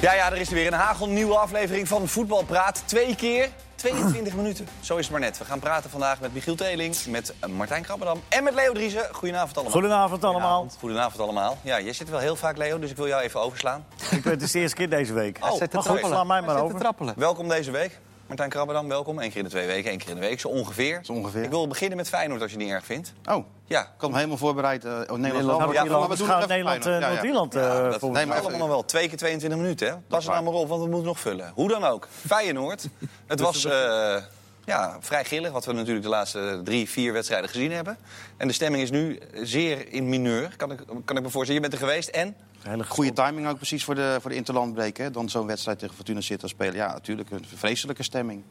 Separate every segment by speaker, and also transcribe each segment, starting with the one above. Speaker 1: Ja, ja, er is er weer een hagelnieuwe aflevering van Voetbal Praat. Twee keer
Speaker 2: Ah.
Speaker 1: 22 minuten. Zo is het maar net. We gaan praten vandaag met Michiel Teling, met eh, Martijn Krabberdam en met Leo Driessen. Goedenavond allemaal.
Speaker 3: Goedenavond allemaal.
Speaker 1: Goedenavond. Goedenavond allemaal. Ja, jij zit wel heel vaak, Leo, dus ik wil jou even overslaan.
Speaker 3: Ik ben het is de eerste keer deze week.
Speaker 1: Oh, zit te
Speaker 3: maar goed,
Speaker 1: trappelen.
Speaker 3: sla mij maar
Speaker 2: Hij zit te
Speaker 3: over.
Speaker 2: trappelen.
Speaker 1: Welkom deze week. Martijn Krabberdam, welkom. Eén keer in de twee weken, één keer in de week, zo ongeveer.
Speaker 2: Zo ongeveer.
Speaker 1: Ik wil beginnen met Feyenoord, als je het niet erg vindt.
Speaker 2: Oh,
Speaker 1: Ja,
Speaker 2: ik had hem helemaal voorbereid. eh, oh, Nederland
Speaker 1: Ja,
Speaker 3: Nou,
Speaker 1: maar
Speaker 3: Ierland,
Speaker 1: we
Speaker 3: dus
Speaker 2: doen
Speaker 3: gaan
Speaker 2: even
Speaker 3: Nederland, eh,
Speaker 2: Feyenoord. Ja, ja.
Speaker 3: Noord-Ierland eh,
Speaker 1: Ja, dat
Speaker 3: volgend
Speaker 1: nee,
Speaker 2: Nee, maar
Speaker 3: jaar.
Speaker 2: even-
Speaker 1: allemaal wel. Twee keer 22 minuten, hè? Pas er
Speaker 2: waar.
Speaker 1: nou maar op, want we moeten nog vullen. Hoe dan ook. Feyenoord. Het was eh, ja, vrij gillig, wat we natuurlijk de laatste drie, vier wedstrijden gezien hebben. En de stemming is nu zeer in mineur, kan ik, kan ik me voorstellen. Je bent er geweest en...
Speaker 3: Hele
Speaker 2: Goede timing ook precies voor de, voor de interlandbreek. Hè? Dan zo'n wedstrijd tegen Fortuna Sittard spelen. Ja, natuurlijk een vreselijke stemming.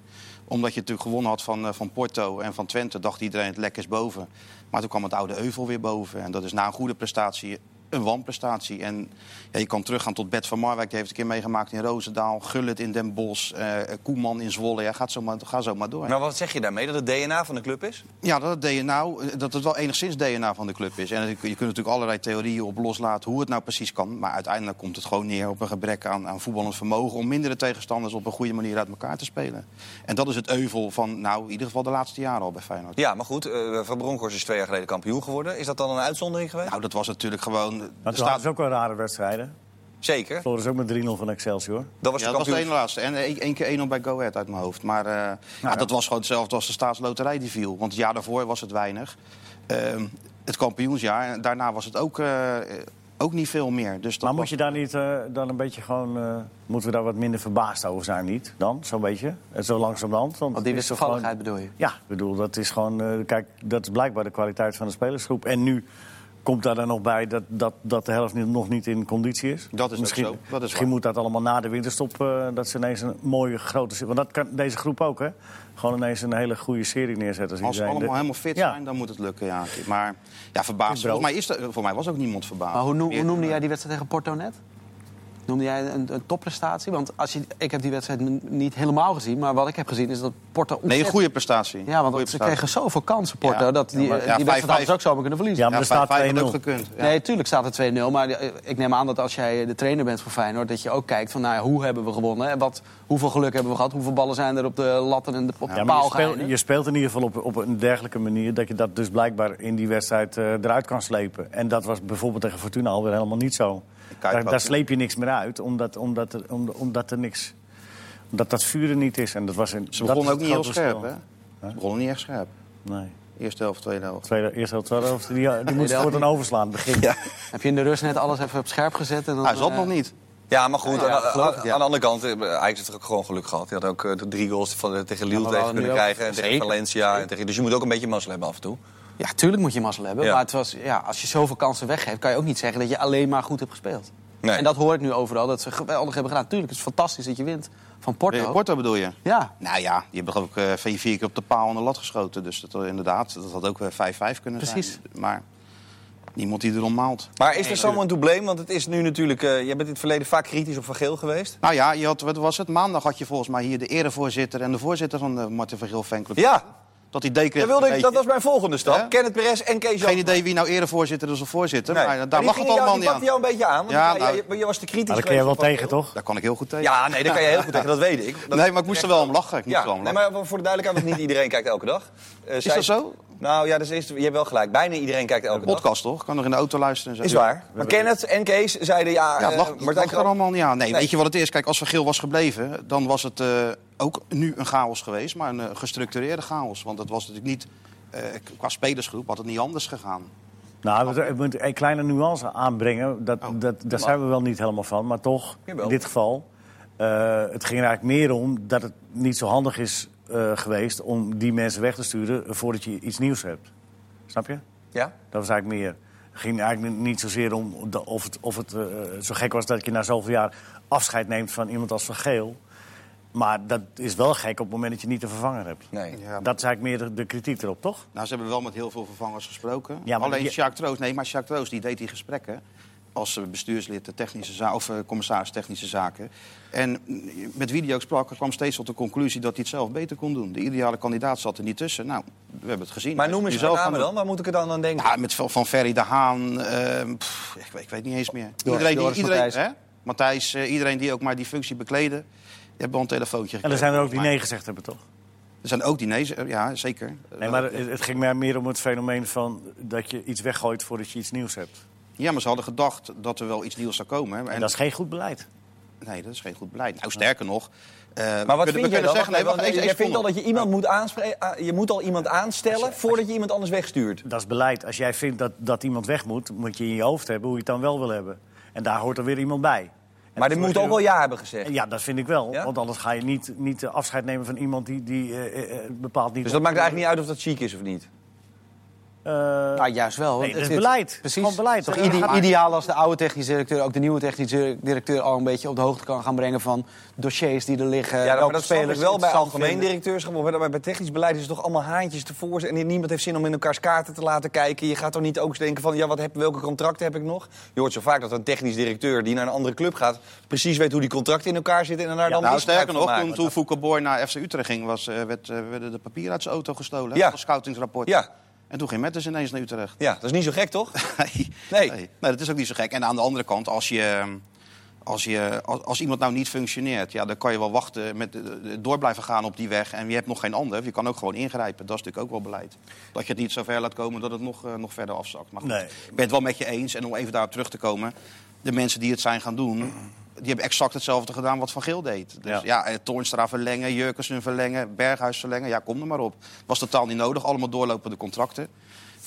Speaker 2: Omdat je natuurlijk gewonnen had van, eh, van Porto en van Twente... dacht iedereen het lekkers boven. Maar toen kwam het oude euvel weer boven. En dat is na een goede prestatie een wanprestatie. En ja, je kan teruggaan tot Bert van Marwijk. Die heeft het een keer meegemaakt in Roosendaal. Gullit in Den Bosch. eh, Koeman in Zwolle. Ja, gaat zo maar, ga zo maar door.
Speaker 1: Nou, wat zeg je daarmee? Dat het DNA van de club is?
Speaker 2: Ja, dat het, DNA, dat het wel enigszins DNA van de club is. En je kunt natuurlijk allerlei theorieën op loslaten hoe het nou precies kan. Maar uiteindelijk komt het gewoon neer op een gebrek aan, aan voetballend vermogen... om mindere tegenstanders op een goede manier uit elkaar te spelen. En dat is het euvel van, nou, in ieder geval de laatste jaren al bij Feyenoord.
Speaker 1: Ja, maar goed, eh, Van Bronckhorst is twee jaar geleden kampioen geworden. Is dat dan een uitzondering geweest?
Speaker 2: Nou, dat was natuurlijk gewoon... er
Speaker 3: Dat
Speaker 2: staat-
Speaker 3: was ook Nou, wel een rare wedstrijden.
Speaker 1: Zeker.
Speaker 3: Floris ook met 3-0 van Excelsior.
Speaker 1: Dat was
Speaker 2: Ja,
Speaker 1: de
Speaker 2: dat was de ene
Speaker 1: kampioen.
Speaker 2: laatste. En één één keer 1-0 bij Go Ahead uit mijn hoofd. Maar eh,
Speaker 3: Nou
Speaker 2: ja, dat was gewoon hetzelfde als de staatsloterij die viel. Want het jaar daarvoor was het weinig. Ehm, het kampioensjaar. En daarna was het ook, eh, ook niet veel meer. Dus dat
Speaker 3: Maar
Speaker 2: was-
Speaker 3: moet je daar niet eh, dan een beetje gewoon... eh, moeten we daar wat minder verbaasd over zijn, niet? Dan, zo'n beetje? En zo langzamerhand? Want
Speaker 4: Want die
Speaker 3: het is toch
Speaker 4: wisselvalligheid bedoel je?
Speaker 3: Ja, ik bedoel, dat is gewoon... eh, kijk, dat is blijkbaar de kwaliteit van de spelersgroep. En nu komt daar dan nog bij dat, dat, dat de helft niet- nog niet in conditie is.
Speaker 2: Dat is ook
Speaker 3: misschien,
Speaker 2: zo. Dat is
Speaker 3: misschien
Speaker 2: waar.
Speaker 3: moet dat allemaal na de winterstop, eh, dat ze ineens een mooie grote... se- Want dat kan deze groep ook, hè? Gewoon ineens een hele goede serie neerzetten.
Speaker 2: Als ze
Speaker 3: iedereen
Speaker 2: allemaal
Speaker 3: de-
Speaker 2: helemaal fit
Speaker 3: Ja.
Speaker 2: zijn, dan moet het lukken. Ja. Maar ja, verbaasd.
Speaker 3: brood.
Speaker 2: Volgens mij, is er, voor mij was ook niemand verbaasd.
Speaker 4: Maar hoe, noem- hoe
Speaker 2: Meer-
Speaker 4: noemde jij die wedstrijd tegen Porto net? Noemde jij een, een topprestatie? Want als je, ik heb die wedstrijd n- niet helemaal gezien, maar wat ik heb gezien is dat Porto.
Speaker 2: Nee,
Speaker 4: ontzettend-
Speaker 2: een goede prestatie.
Speaker 4: Ja, want
Speaker 2: Goeie
Speaker 4: ze
Speaker 2: prestatie.
Speaker 4: kregen zoveel kansen, Porto,
Speaker 2: Ja.
Speaker 4: dat die,
Speaker 2: Ja, maar-
Speaker 4: eh,
Speaker 2: ja,
Speaker 4: die
Speaker 2: 5-5.
Speaker 4: wedstrijd hadden ze ook zomaar kunnen verliezen.
Speaker 3: Ja, maar er
Speaker 2: vijf-
Speaker 3: staat
Speaker 2: vijf had
Speaker 3: 2-0.
Speaker 2: ook gekund. Ja.
Speaker 4: Nee, tuurlijk staat er 2-0, maar eh, ik neem aan dat als jij de trainer bent van Feyenoord... dat je ook kijkt van, nou ja, hoe hebben we gewonnen? En wat, hoeveel geluk hebben we gehad? Hoeveel ballen zijn er op de latten en de, op de
Speaker 2: Nou,
Speaker 3: Ja, maar
Speaker 4: paal
Speaker 3: je, speelt,
Speaker 4: geëindigd?
Speaker 3: je speelt in ieder geval op, op een dergelijke manier... dat je dat dus blijkbaar in die wedstrijd eh, eruit kan slepen. En dat was bijvoorbeeld tegen Fortuna alweer helemaal niet zo.
Speaker 2: Kijk,
Speaker 3: Daar,
Speaker 2: wat-
Speaker 3: daar sleep je niks meer uit, omdat, omdat, er, om- omdat er niks... omdat dat vuur er niet is. En dat was een,
Speaker 2: Ze begonnen ook
Speaker 3: dat
Speaker 2: niet
Speaker 3: is
Speaker 2: heel
Speaker 3: het grote
Speaker 2: scherp, hè? Ze begonnen niet echt scherp.
Speaker 3: verschil. Nee.
Speaker 2: Eerste helft, tweede helft.
Speaker 3: Tweede, eerste helft, tweede helft, die, die moest het dan overslaan. het Begin.
Speaker 4: Heb je in de rust net alles even op scherp gezet? En dan,
Speaker 2: Hij zat
Speaker 4: eh,
Speaker 2: Nou, Ah, nog niet.
Speaker 1: Ja, maar goed,
Speaker 4: Ja, ja,
Speaker 1: aan,
Speaker 4: dat geloof ik,
Speaker 1: aan-
Speaker 4: ja.
Speaker 1: aan de andere kant, eh, Ajax heeft ook gewoon geluk gehad. Die had ook eh, de drie goals van, eh, tegen Lille
Speaker 4: maar we
Speaker 1: tegen kunnen
Speaker 4: hadden nu ook-
Speaker 1: krijgen. En tegen
Speaker 4: Zeker.
Speaker 1: Valencia. En tegen, dus je moet ook een beetje mazzel hebben af en toe.
Speaker 4: Ja, tuurlijk moet je mazzel hebben.
Speaker 1: Ja.
Speaker 4: Maar het was, ja, als je zoveel kansen weggeeft, kan je ook niet zeggen dat je alleen maar goed hebt gespeeld.
Speaker 1: Nee.
Speaker 4: En dat hoor ik nu overal, dat ze geweldig hebben gedaan. Tuurlijk, het is fantastisch dat je wint van Porto.
Speaker 2: Eh, Porto. Porto bedoel je?
Speaker 4: Ja.
Speaker 2: Nou ja, die hebben ook eh vier vier keer op de paal en de lat geschoten. Dus dat, inderdaad, dat had ook eh, 5-5 kunnen
Speaker 4: Precies.
Speaker 2: zijn. Maar niemand die erom maalt.
Speaker 1: Maar is er zo'n probleem? Want het is nu natuurlijk. eh, jij bent in het verleden vaak kritisch op Van Geel geweest.
Speaker 2: Nou ja, je had, wat was het? Maandag had je volgens mij hier de erevoorzitter... en de voorzitter van de Martin van Geel fanclub.
Speaker 1: Ja,
Speaker 2: Dat die deken...
Speaker 1: dat, wilde ik, dat was mijn volgende stap.
Speaker 2: Ja?
Speaker 1: Kenneth Perez en Kees
Speaker 2: Geen
Speaker 1: Jansma.
Speaker 2: idee wie nou erevoorzitter is of voorzitter.
Speaker 1: Nee.
Speaker 2: Maar daar
Speaker 1: Maar die
Speaker 2: mag
Speaker 1: ging
Speaker 2: het allemaal
Speaker 1: jou,
Speaker 2: niet
Speaker 1: die
Speaker 2: aan.
Speaker 1: pakte jou een beetje aan. Want
Speaker 2: Ja,
Speaker 1: jij-
Speaker 2: nou-
Speaker 1: jij, je was te kritisch.
Speaker 3: Maar daar kun je
Speaker 1: geweest
Speaker 3: wel
Speaker 1: op Van
Speaker 3: tegen,
Speaker 1: Geel.
Speaker 3: toch?
Speaker 2: Daar kan ik heel goed tegen.
Speaker 1: Ja, nee, daar kan je heel goed tegen, dat weet ik. Dat-
Speaker 2: nee, maar ik moest er wel om lachen. Ik moest
Speaker 1: ja,
Speaker 2: er wel om
Speaker 1: nee,
Speaker 2: lachen.
Speaker 1: maar voor de duidelijkheid, want niet iedereen kijkt elke dag. Eh, zij-
Speaker 2: dat zo?
Speaker 1: Nou ja, dus is, je hebt wel gelijk. Bijna iedereen kijkt elke dag.
Speaker 2: Podcast toch? Ik kan nog in de auto luisteren. En zo.
Speaker 1: Is waar. Maar Kenneth en Kees zeiden ja.
Speaker 2: Ja, het
Speaker 1: eh,
Speaker 2: lag, het
Speaker 1: Martijn
Speaker 2: lag er
Speaker 1: Krabbe-
Speaker 2: allemaal niet aan. Nee,
Speaker 1: Nee.
Speaker 2: weet je wat het is? Kijk, als Van Geel was gebleven, dan was het eh, ook nu een chaos geweest. Maar een eh, gestructureerde chaos. Want het was natuurlijk niet... eh, qua spelersgroep had het niet anders gegaan.
Speaker 3: Nou, we- we moeten een kleine nuance aanbrengen. Dat,
Speaker 2: Oh,
Speaker 3: dat, daar zijn we wel niet helemaal van. Maar toch,
Speaker 1: Jawel.
Speaker 3: in dit geval... eh, het ging er eigenlijk meer om dat het niet zo handig is eh, geweest... om die mensen weg te sturen voordat je iets nieuws hebt. Snap je?
Speaker 1: Ja?
Speaker 3: Dat was eigenlijk meer. Het ging eigenlijk niet zozeer om de- of het, of het eh, zo gek was dat je na zoveel jaar afscheid neemt van iemand als Van Geel. Maar dat is wel gek op het moment dat je niet de vervanger hebt.
Speaker 1: Nee.
Speaker 2: Ja.
Speaker 3: Dat is eigenlijk meer de, de kritiek erop, toch?
Speaker 2: Nou, ze hebben wel met heel veel vervangers gesproken.
Speaker 3: Ja, maar
Speaker 2: Alleen
Speaker 3: je-
Speaker 2: Sjaak Troost, nee, maar Sjaak Troost die deed die gesprekken als eh, bestuurslid de technische za- of eh, commissaris technische zaken. En mm, met wie die ook sprak, kwam steeds tot de conclusie dat hij het zelf beter kon doen. De ideale kandidaat zat er niet tussen. Nou, we hebben het gezien.
Speaker 1: Maar noem eens
Speaker 2: zelf
Speaker 1: een namen dan. Waar moet ik er dan aan
Speaker 2: Nou,
Speaker 1: denken?
Speaker 2: Ja, met Van Ferry de Haan, eh, pff, ik, ehm, weet- ik weet niet eens meer.
Speaker 4: Doris
Speaker 2: die-
Speaker 4: Matthijs.
Speaker 2: hè? Matthijs, eh, iedereen die ook maar die functie bekleden, die hebben al een telefoontje
Speaker 3: En er
Speaker 2: gekregen.
Speaker 3: zijn er ook die
Speaker 2: Maar-
Speaker 3: nee gezegd hebben, toch?
Speaker 2: Er zijn ook die nee, ze- ja, zeker.
Speaker 3: Nee, maar het het ging mij meer om het fenomeen van dat je iets weggooit voordat je iets nieuws hebt.
Speaker 2: Ja, maar ze hadden gedacht dat er wel iets nieuws zou komen. hè.
Speaker 3: En dat is geen goed beleid.
Speaker 2: Nee, dat is geen goed beleid. Nou, sterker nog. eh,
Speaker 1: Maar
Speaker 2: we
Speaker 1: wat
Speaker 2: kunnen- we
Speaker 1: vind jij
Speaker 2: kunnen
Speaker 1: dan?
Speaker 2: zeggen, nee,
Speaker 1: Wacht
Speaker 2: wacht,
Speaker 1: even, jij
Speaker 2: even, even
Speaker 1: vindt al
Speaker 2: volgen.
Speaker 1: dat je iemand moet aanspreken, ah, je moet al iemand aanstellen voordat je iemand anders wegstuurt.
Speaker 3: Dat is beleid. Als jij vindt dat, dat iemand weg moet, moet je in je hoofd hebben hoe je het dan wel wil hebben. En daar hoort er weer iemand bij. En
Speaker 1: Maar
Speaker 3: dat
Speaker 1: dit
Speaker 3: wordt
Speaker 1: moet ook
Speaker 3: heel-
Speaker 1: wel ja hebben gezegd.
Speaker 3: Ja, dat vind ik wel.
Speaker 1: Ja?
Speaker 3: Want anders ga je niet, niet eh, afscheid nemen van iemand die, die eh, eh, eh, bepaalt niet...
Speaker 1: Dus dat maakt eigenlijk niet uit of dat chic is of niet.
Speaker 3: Eh,
Speaker 4: Nou, juist wel.
Speaker 3: nee, dat is
Speaker 4: Het-
Speaker 3: beleid.
Speaker 4: Precies.
Speaker 3: Gewoon beleid.
Speaker 4: Toch
Speaker 3: Ja,
Speaker 4: ide-
Speaker 3: maar-
Speaker 4: ideaal als de oude technisch directeur ook de nieuwe technisch directeur al een beetje op de hoogte kan gaan brengen van dossiers die er liggen.
Speaker 1: Ja, nou, maar
Speaker 4: welke
Speaker 1: dat speel ik
Speaker 4: spelers
Speaker 1: wel bij
Speaker 4: interessant
Speaker 1: algemeen
Speaker 4: vinden.
Speaker 1: directeurschap. Maar bij technisch beleid is het toch allemaal haantjes tevoor. En niemand heeft zin om in elkaars kaarten te laten kijken. Je gaat toch niet ook eens denken van, ja, wat heb, welke contracten heb ik nog? Je hoort zo vaak dat een technisch directeur die naar een andere club gaat... precies weet hoe die contracten in elkaar zitten en daar dan
Speaker 2: Nou,
Speaker 1: misbruik
Speaker 2: sterker
Speaker 1: van
Speaker 2: nog,
Speaker 1: maakt.
Speaker 2: toen, toen Foucault Boy naar FC Utrecht ging, was, eh, werd, eh, werden de papieren uit zijn auto gestolen.
Speaker 1: Ja.
Speaker 2: Ja. Een scoutingsrapport.
Speaker 1: Ja.
Speaker 2: En toen ging Metters ineens naar Utrecht.
Speaker 1: Ja, dat is niet zo gek, toch? Nee.
Speaker 2: Nee. Nee, dat is ook niet zo gek. En aan de andere kant, als je... ehm, Als, je, als, als iemand nou niet functioneert, ja, dan kan je wel wachten met eh, door blijven gaan op die weg. En je hebt nog geen ander. Je kan ook gewoon ingrijpen. Dat is natuurlijk ook wel beleid. Dat je het niet zo ver laat komen dat het nog, eh, nog verder afzakt. Maar goed,
Speaker 3: Nee.
Speaker 2: ik ben het wel met je eens. En om even daarop terug te komen, de mensen die het zijn gaan doen, die hebben exact hetzelfde gedaan wat Van Geel deed. Dus ja, eh, Toornstra verlengen, Jurkensen verlengen, Berghuis verlengen. Ja, kom er maar op. Was totaal niet nodig. Allemaal doorlopende contracten.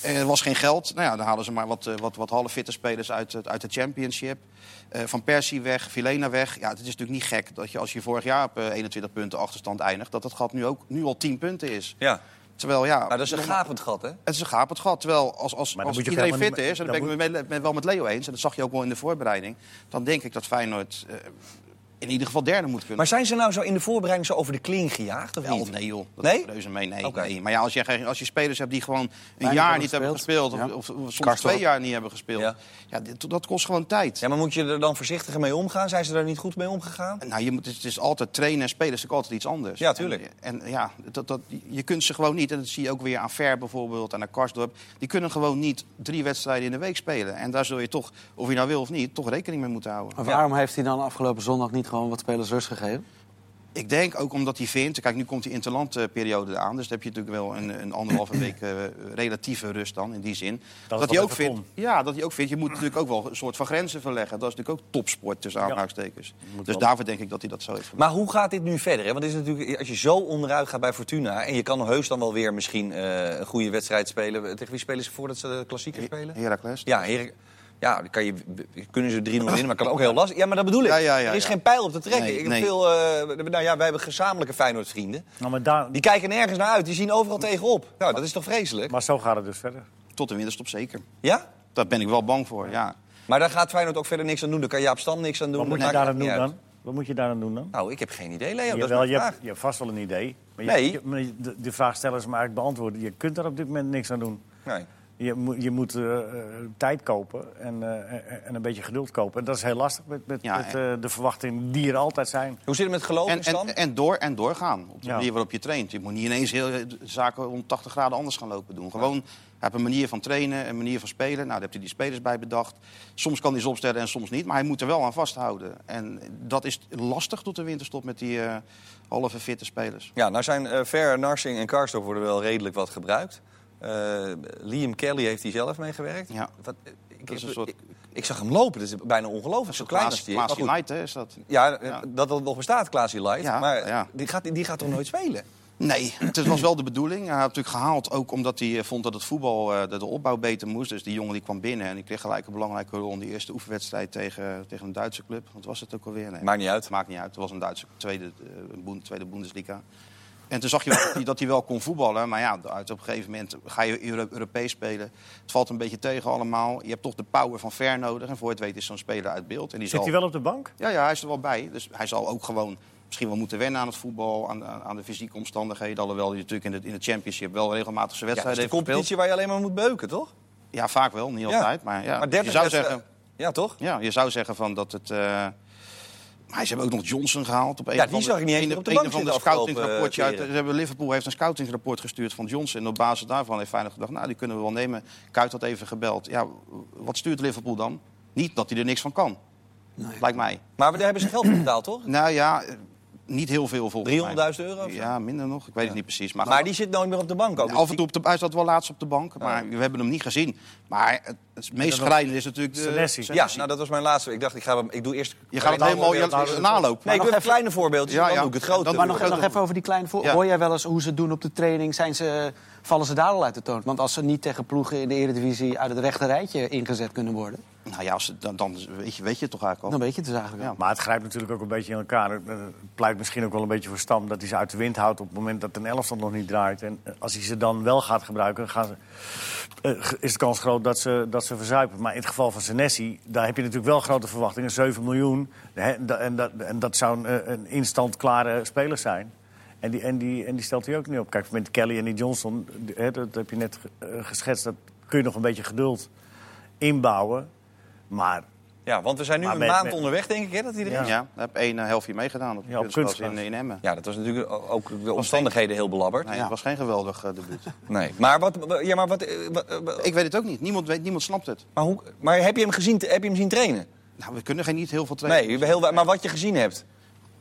Speaker 2: Eh, Er was geen geld. Nou ja, dan halen ze maar wat, eh, wat, wat halffitte spelers uit, het- uit de championship. Eh, van Persie weg, Vilena weg. Ja, het is natuurlijk niet gek dat je als je vorig jaar op eh, 21 punten achterstand eindigt... dat dat gat nu, ook, nu al 10 punten is.
Speaker 1: Ja,
Speaker 2: Terwijl, ja,
Speaker 1: maar dat is een
Speaker 2: nogmaals-
Speaker 1: gapend gat, hè?
Speaker 2: het is een gapend gat. Terwijl als, als,
Speaker 3: Maar dan moet
Speaker 2: als
Speaker 3: je ook
Speaker 2: iedereen fit
Speaker 3: helemaal niet-
Speaker 2: is, en
Speaker 3: dan
Speaker 2: dat ben ik
Speaker 3: moet-
Speaker 2: me met- met- wel met Leo eens... en dat zag je ook wel in de voorbereiding... dan denk ik dat Feyenoord eh, in ieder geval derde moet kunnen.
Speaker 1: Maar zijn ze nou zo in de voorbereiding zo over de kling gejaagd, of
Speaker 2: Ja,
Speaker 1: niet?
Speaker 2: nee joh, dat
Speaker 1: Nee?
Speaker 2: nee? reuze mee. Nee,
Speaker 1: Oké.
Speaker 2: nee. Maar ja, als je, geen- als je spelers hebt die gewoon een
Speaker 4: Weinig
Speaker 2: jaar
Speaker 4: hebben
Speaker 2: niet hebben gespeeld...
Speaker 4: gespeeld,
Speaker 2: of,
Speaker 4: ja.
Speaker 2: of, of soms
Speaker 4: Karstorp.
Speaker 2: twee jaar niet hebben gespeeld...
Speaker 1: Ja.
Speaker 2: Ja. dit- dat kost gewoon tijd.
Speaker 1: Ja, maar moet je er dan voorzichtiger mee omgaan? Zijn ze daar niet goed mee omgegaan?
Speaker 2: Nou, je moet, het is altijd trainen en spelen is natuurlijk altijd iets anders.
Speaker 1: Ja, tuurlijk.
Speaker 2: En, en ja, dat, dat, je kunt ze gewoon niet. En dat zie je ook weer aan Ver bijvoorbeeld en aan Karsdorp. Die kunnen gewoon niet drie wedstrijden in de week spelen. En daar zul je toch, of je nou wil of niet, toch rekening mee moeten houden.
Speaker 1: Oh.
Speaker 4: Maar waarom heeft hij dan afgelopen zondag niet gewoon wat spelers rust gegeven?
Speaker 2: Ik denk ook omdat hij vindt... Kijk, nu komt die interlandperiode aan. Dus dan heb je natuurlijk wel een, een anderhalve week eh, relatieve rust dan, in die zin.
Speaker 3: Dat
Speaker 2: Dat,
Speaker 3: het
Speaker 2: hij
Speaker 3: wel
Speaker 2: ook
Speaker 3: even
Speaker 2: vindt... Ja, dat hij ook vindt... Je moet natuurlijk ook wel een soort van grenzen verleggen. Dat is natuurlijk ook topsport tussen aanhalingstekens. Dus daarvoor denk ik dat hij dat zo heeft gedaan.
Speaker 1: Maar hoe gaat dit nu verder? Hè? Want het is natuurlijk, als je zo onderuit gaat bij Fortuna... en je kan heus dan wel weer misschien eh, een goede wedstrijd spelen. Tegen wie spelen ze voordat ze de klassieker spelen?
Speaker 2: Heracles.
Speaker 1: Ja, Heer, ja dan kan je, kunnen ze 3-0 winnen, maar kan ook heel lastig. Ja, maar dat bedoel ik.
Speaker 2: Ja, ja, ja,
Speaker 1: er is
Speaker 2: ja.
Speaker 1: geen pijl op te trekken.
Speaker 2: Nee,
Speaker 1: ik heb
Speaker 2: nee.
Speaker 1: veel, eh, nou ja, wij hebben gezamenlijke Feyenoord-vrienden.
Speaker 3: Nou, maar, daar,
Speaker 1: Die kijken nergens naar uit, die zien overal tegenop. Nou, dat is toch vreselijk?
Speaker 3: maar zo gaat het dus verder.
Speaker 2: Tot de winterstop zeker.
Speaker 1: Ja?
Speaker 2: Daar ben ik wel bang voor, ja.
Speaker 1: Maar daar gaat Feyenoord ook verder niks aan doen. Daar kan Jaap Stam niks aan doen.
Speaker 3: Wat
Speaker 1: Dat
Speaker 3: moet je
Speaker 1: maakt
Speaker 3: daar aan
Speaker 1: niet
Speaker 3: doen
Speaker 1: uit.
Speaker 3: dan? Wat moet je daar aan doen dan?
Speaker 1: Nou, ik heb geen idee, Leo. dat is
Speaker 3: Jawel,
Speaker 1: mijn
Speaker 3: je,
Speaker 1: vraag.
Speaker 3: hebt, je hebt vast wel een idee. Maar je,
Speaker 1: Nee.
Speaker 3: je- maar je- de, de vraag stellen is maar eigenlijk beantwoorden. Je kunt daar op dit moment niks aan doen.
Speaker 1: Nee.
Speaker 3: Je, moet- je moet eh, eh, tijd kopen en, eh, eh, en een beetje geduld kopen. En dat is heel lastig met, met,
Speaker 2: Ja,
Speaker 3: met eh, de verwachtingen die er altijd zijn.
Speaker 1: Hoe zit het met geloof
Speaker 2: En,
Speaker 1: en Stam?
Speaker 2: en, en, door, en doorgaan op de
Speaker 3: Ja.
Speaker 2: manier waarop je traint. Je moet niet ineens heel, eh, de zaken om 80 graden anders gaan lopen doen. Gewoon, hij heeft een manier van trainen, een manier van spelen. Nou, daar heeft hij die spelers bij bedacht. Soms kan hij ze opstellen en soms niet. Maar hij moet er wel aan vasthouden. En dat is lastig tot de winterstop met die eh, halve fitte spelers.
Speaker 1: Ja, nou zijn eh Ver, Narsing en Karstorp worden wel redelijk wat gebruikt. Eh, Liam Kelly heeft hier zelf meegewerkt.
Speaker 2: Ja.
Speaker 1: Wat, eh, ik,
Speaker 2: Dat is een
Speaker 1: ik-
Speaker 2: soort-
Speaker 1: ik, ik zag hem lopen, dat is bijna ongelooflijk. Zo klein als
Speaker 2: Klaas,
Speaker 1: die is. Maar
Speaker 2: Klaas
Speaker 1: goed,
Speaker 2: United hè, is dat.
Speaker 1: ja, eh,
Speaker 2: Ja.
Speaker 1: dat dat nog bestaat, Klaas Light.
Speaker 2: Ja,
Speaker 1: maar
Speaker 2: ja.
Speaker 1: Die, gaat, die gaat toch nooit spelen?
Speaker 2: Nee, het was wel de bedoeling. Hij had natuurlijk gehaald ook omdat hij eh, vond dat het voetbal, eh, dat de opbouw beter moest. Dus die jongen die kwam binnen en die kreeg gelijk een belangrijke rol in die eerste oefenwedstrijd tegen, tegen een Duitse club. Wat was het ook alweer? Nee.
Speaker 1: Maakt niet uit.
Speaker 2: Maakt niet uit. Het was een Duitse tweede, eh, boen- tweede Bundesliga. En toen zag je wel dat hij- dat hij wel kon voetballen. Maar ja, uit op een gegeven moment ga je Euro- Europees spelen. Het valt een beetje tegen allemaal. Je hebt toch de power van Ver nodig. En voor het weten is Eh, zo'n speler uit beeld. En die
Speaker 3: Zit
Speaker 2: zal...
Speaker 3: hij wel op de bank?
Speaker 2: Ja, ja, hij is er wel bij. Dus hij zal ook gewoon misschien wel moeten wennen aan het voetbal, aan, aan aan de fysieke omstandigheden. Alhoewel hij natuurlijk in de, in de Championship wel regelmatig zijn
Speaker 1: Ja, dat is
Speaker 2: wedstrijden
Speaker 1: de
Speaker 2: heeft
Speaker 1: competitie
Speaker 2: gespeeld.
Speaker 1: waar je alleen maar moet beuken, toch?
Speaker 2: Ja, vaak wel, niet altijd. Maar, ja, je
Speaker 1: 30
Speaker 2: zou
Speaker 1: wedstrijden-
Speaker 2: zeggen,
Speaker 1: Ja, toch?
Speaker 2: ja, je zou zeggen van dat het. eh, maar ze hebben ook nog Johnson gehaald. Op een
Speaker 1: Ja,
Speaker 2: of
Speaker 1: die
Speaker 2: andere-
Speaker 1: zag ik niet eens
Speaker 2: een-
Speaker 1: meer op de
Speaker 2: een
Speaker 1: bank
Speaker 2: of andere
Speaker 1: zitten afgelopen,
Speaker 2: scoutingsrapportje
Speaker 1: eh,
Speaker 2: uit. Ze hebben, Liverpool heeft een scoutingsrapport gestuurd van Johnson. En op basis daarvan heeft Feyenoord gedacht, nou, die kunnen we wel nemen. Kuit had even gebeld. Ja, wat stuurt Liverpool dan? Niet dat hij er niks van kan. Lijkt mij.
Speaker 1: Maar daar hebben ze geld voor betaald, toch? 300.000
Speaker 2: Nou ja, eh, niet heel veel volgens mij.
Speaker 1: euro? of zo?
Speaker 2: Ja, minder nog. Ik weet het niet precies. Maar,
Speaker 1: Maar die zit nooit meer op de bank ook.
Speaker 2: af en toe op de, hij zat wel laatst op de bank, maar we hebben hem niet gezien. Maar het, het meest schrijnende is natuurlijk de...
Speaker 3: Senesi.
Speaker 1: Ja, nou dat was mijn laatste. Ik dacht, ik, ga, hem- ik doe eerst...
Speaker 2: Je gaat het heel mooi nalopen.
Speaker 1: Nee, ik doe een kleine voorbeeldje,
Speaker 2: Ja,
Speaker 1: dan
Speaker 2: ja.
Speaker 1: doe ik het grote.
Speaker 2: Dan
Speaker 4: Maar
Speaker 2: doe
Speaker 4: nog,
Speaker 2: ik ook
Speaker 4: nog
Speaker 2: nog.
Speaker 4: even over die kleine... voor-
Speaker 2: Ja.
Speaker 4: Hoor jij wel eens hoe ze het doen op de training? Zijn ze, vallen ze daar al uit de toon? Want als ze niet tegen ploegen in de Eredivisie... uit het rechte rijtje ingezet kunnen worden...
Speaker 2: Nou ja, als, het- dan, dan weet, je, weet je het toch eigenlijk al.
Speaker 4: dan weet je het dus eigenlijk al.
Speaker 3: Maar het grijpt natuurlijk ook een beetje in elkaar. Het eh, pleit misschien ook wel een beetje voor Stam dat hij ze uit de wind houdt... op het moment dat een elftal nog niet draait. En eh, als hij ze dan wel gaat gebruiken, gaan ze, eh, ge- is de kans groot dat ze, dat ze verzuipen. Maar in het geval van Senesi, daar heb je natuurlijk wel grote verwachtingen. 7 miljoen, hè, da- en, dat, en dat zou een, eh, een instant-klare speler zijn. En die, en, die, en die stelt hij ook niet op. Kijk, met Kelly en die Johnson, die- hè, dat heb je net ge- eh, geschetst... dat kun je nog een beetje geduld inbouwen. Maar
Speaker 1: Ja, want we zijn nu
Speaker 3: Maar
Speaker 1: een
Speaker 3: met-
Speaker 1: maand
Speaker 3: met-
Speaker 1: onderweg, denk ik, hè, dat iedereen...
Speaker 2: Ja, daar heb één eh, helftje meegedaan op,
Speaker 3: Ja, op
Speaker 2: de kunstgras in,
Speaker 3: kunstgras.
Speaker 2: in Emmen.
Speaker 1: Ja, dat was natuurlijk ook de omstandigheden heel belabberd.
Speaker 2: Nee,
Speaker 4: Ja.
Speaker 2: Het was geen geweldig eh, debuut.
Speaker 1: Nee. Maar, wat, ja, maar, wat, eh, wat- eh,
Speaker 2: ik weet het ook niet. Niemand, weet, niemand snapt het.
Speaker 1: maar, hoe, maar heb je hem gezien, heb je hem zien trainen?
Speaker 2: Nou, we kunnen geen niet heel veel trainen.
Speaker 1: Nee, heel, wa- maar wat je gezien hebt.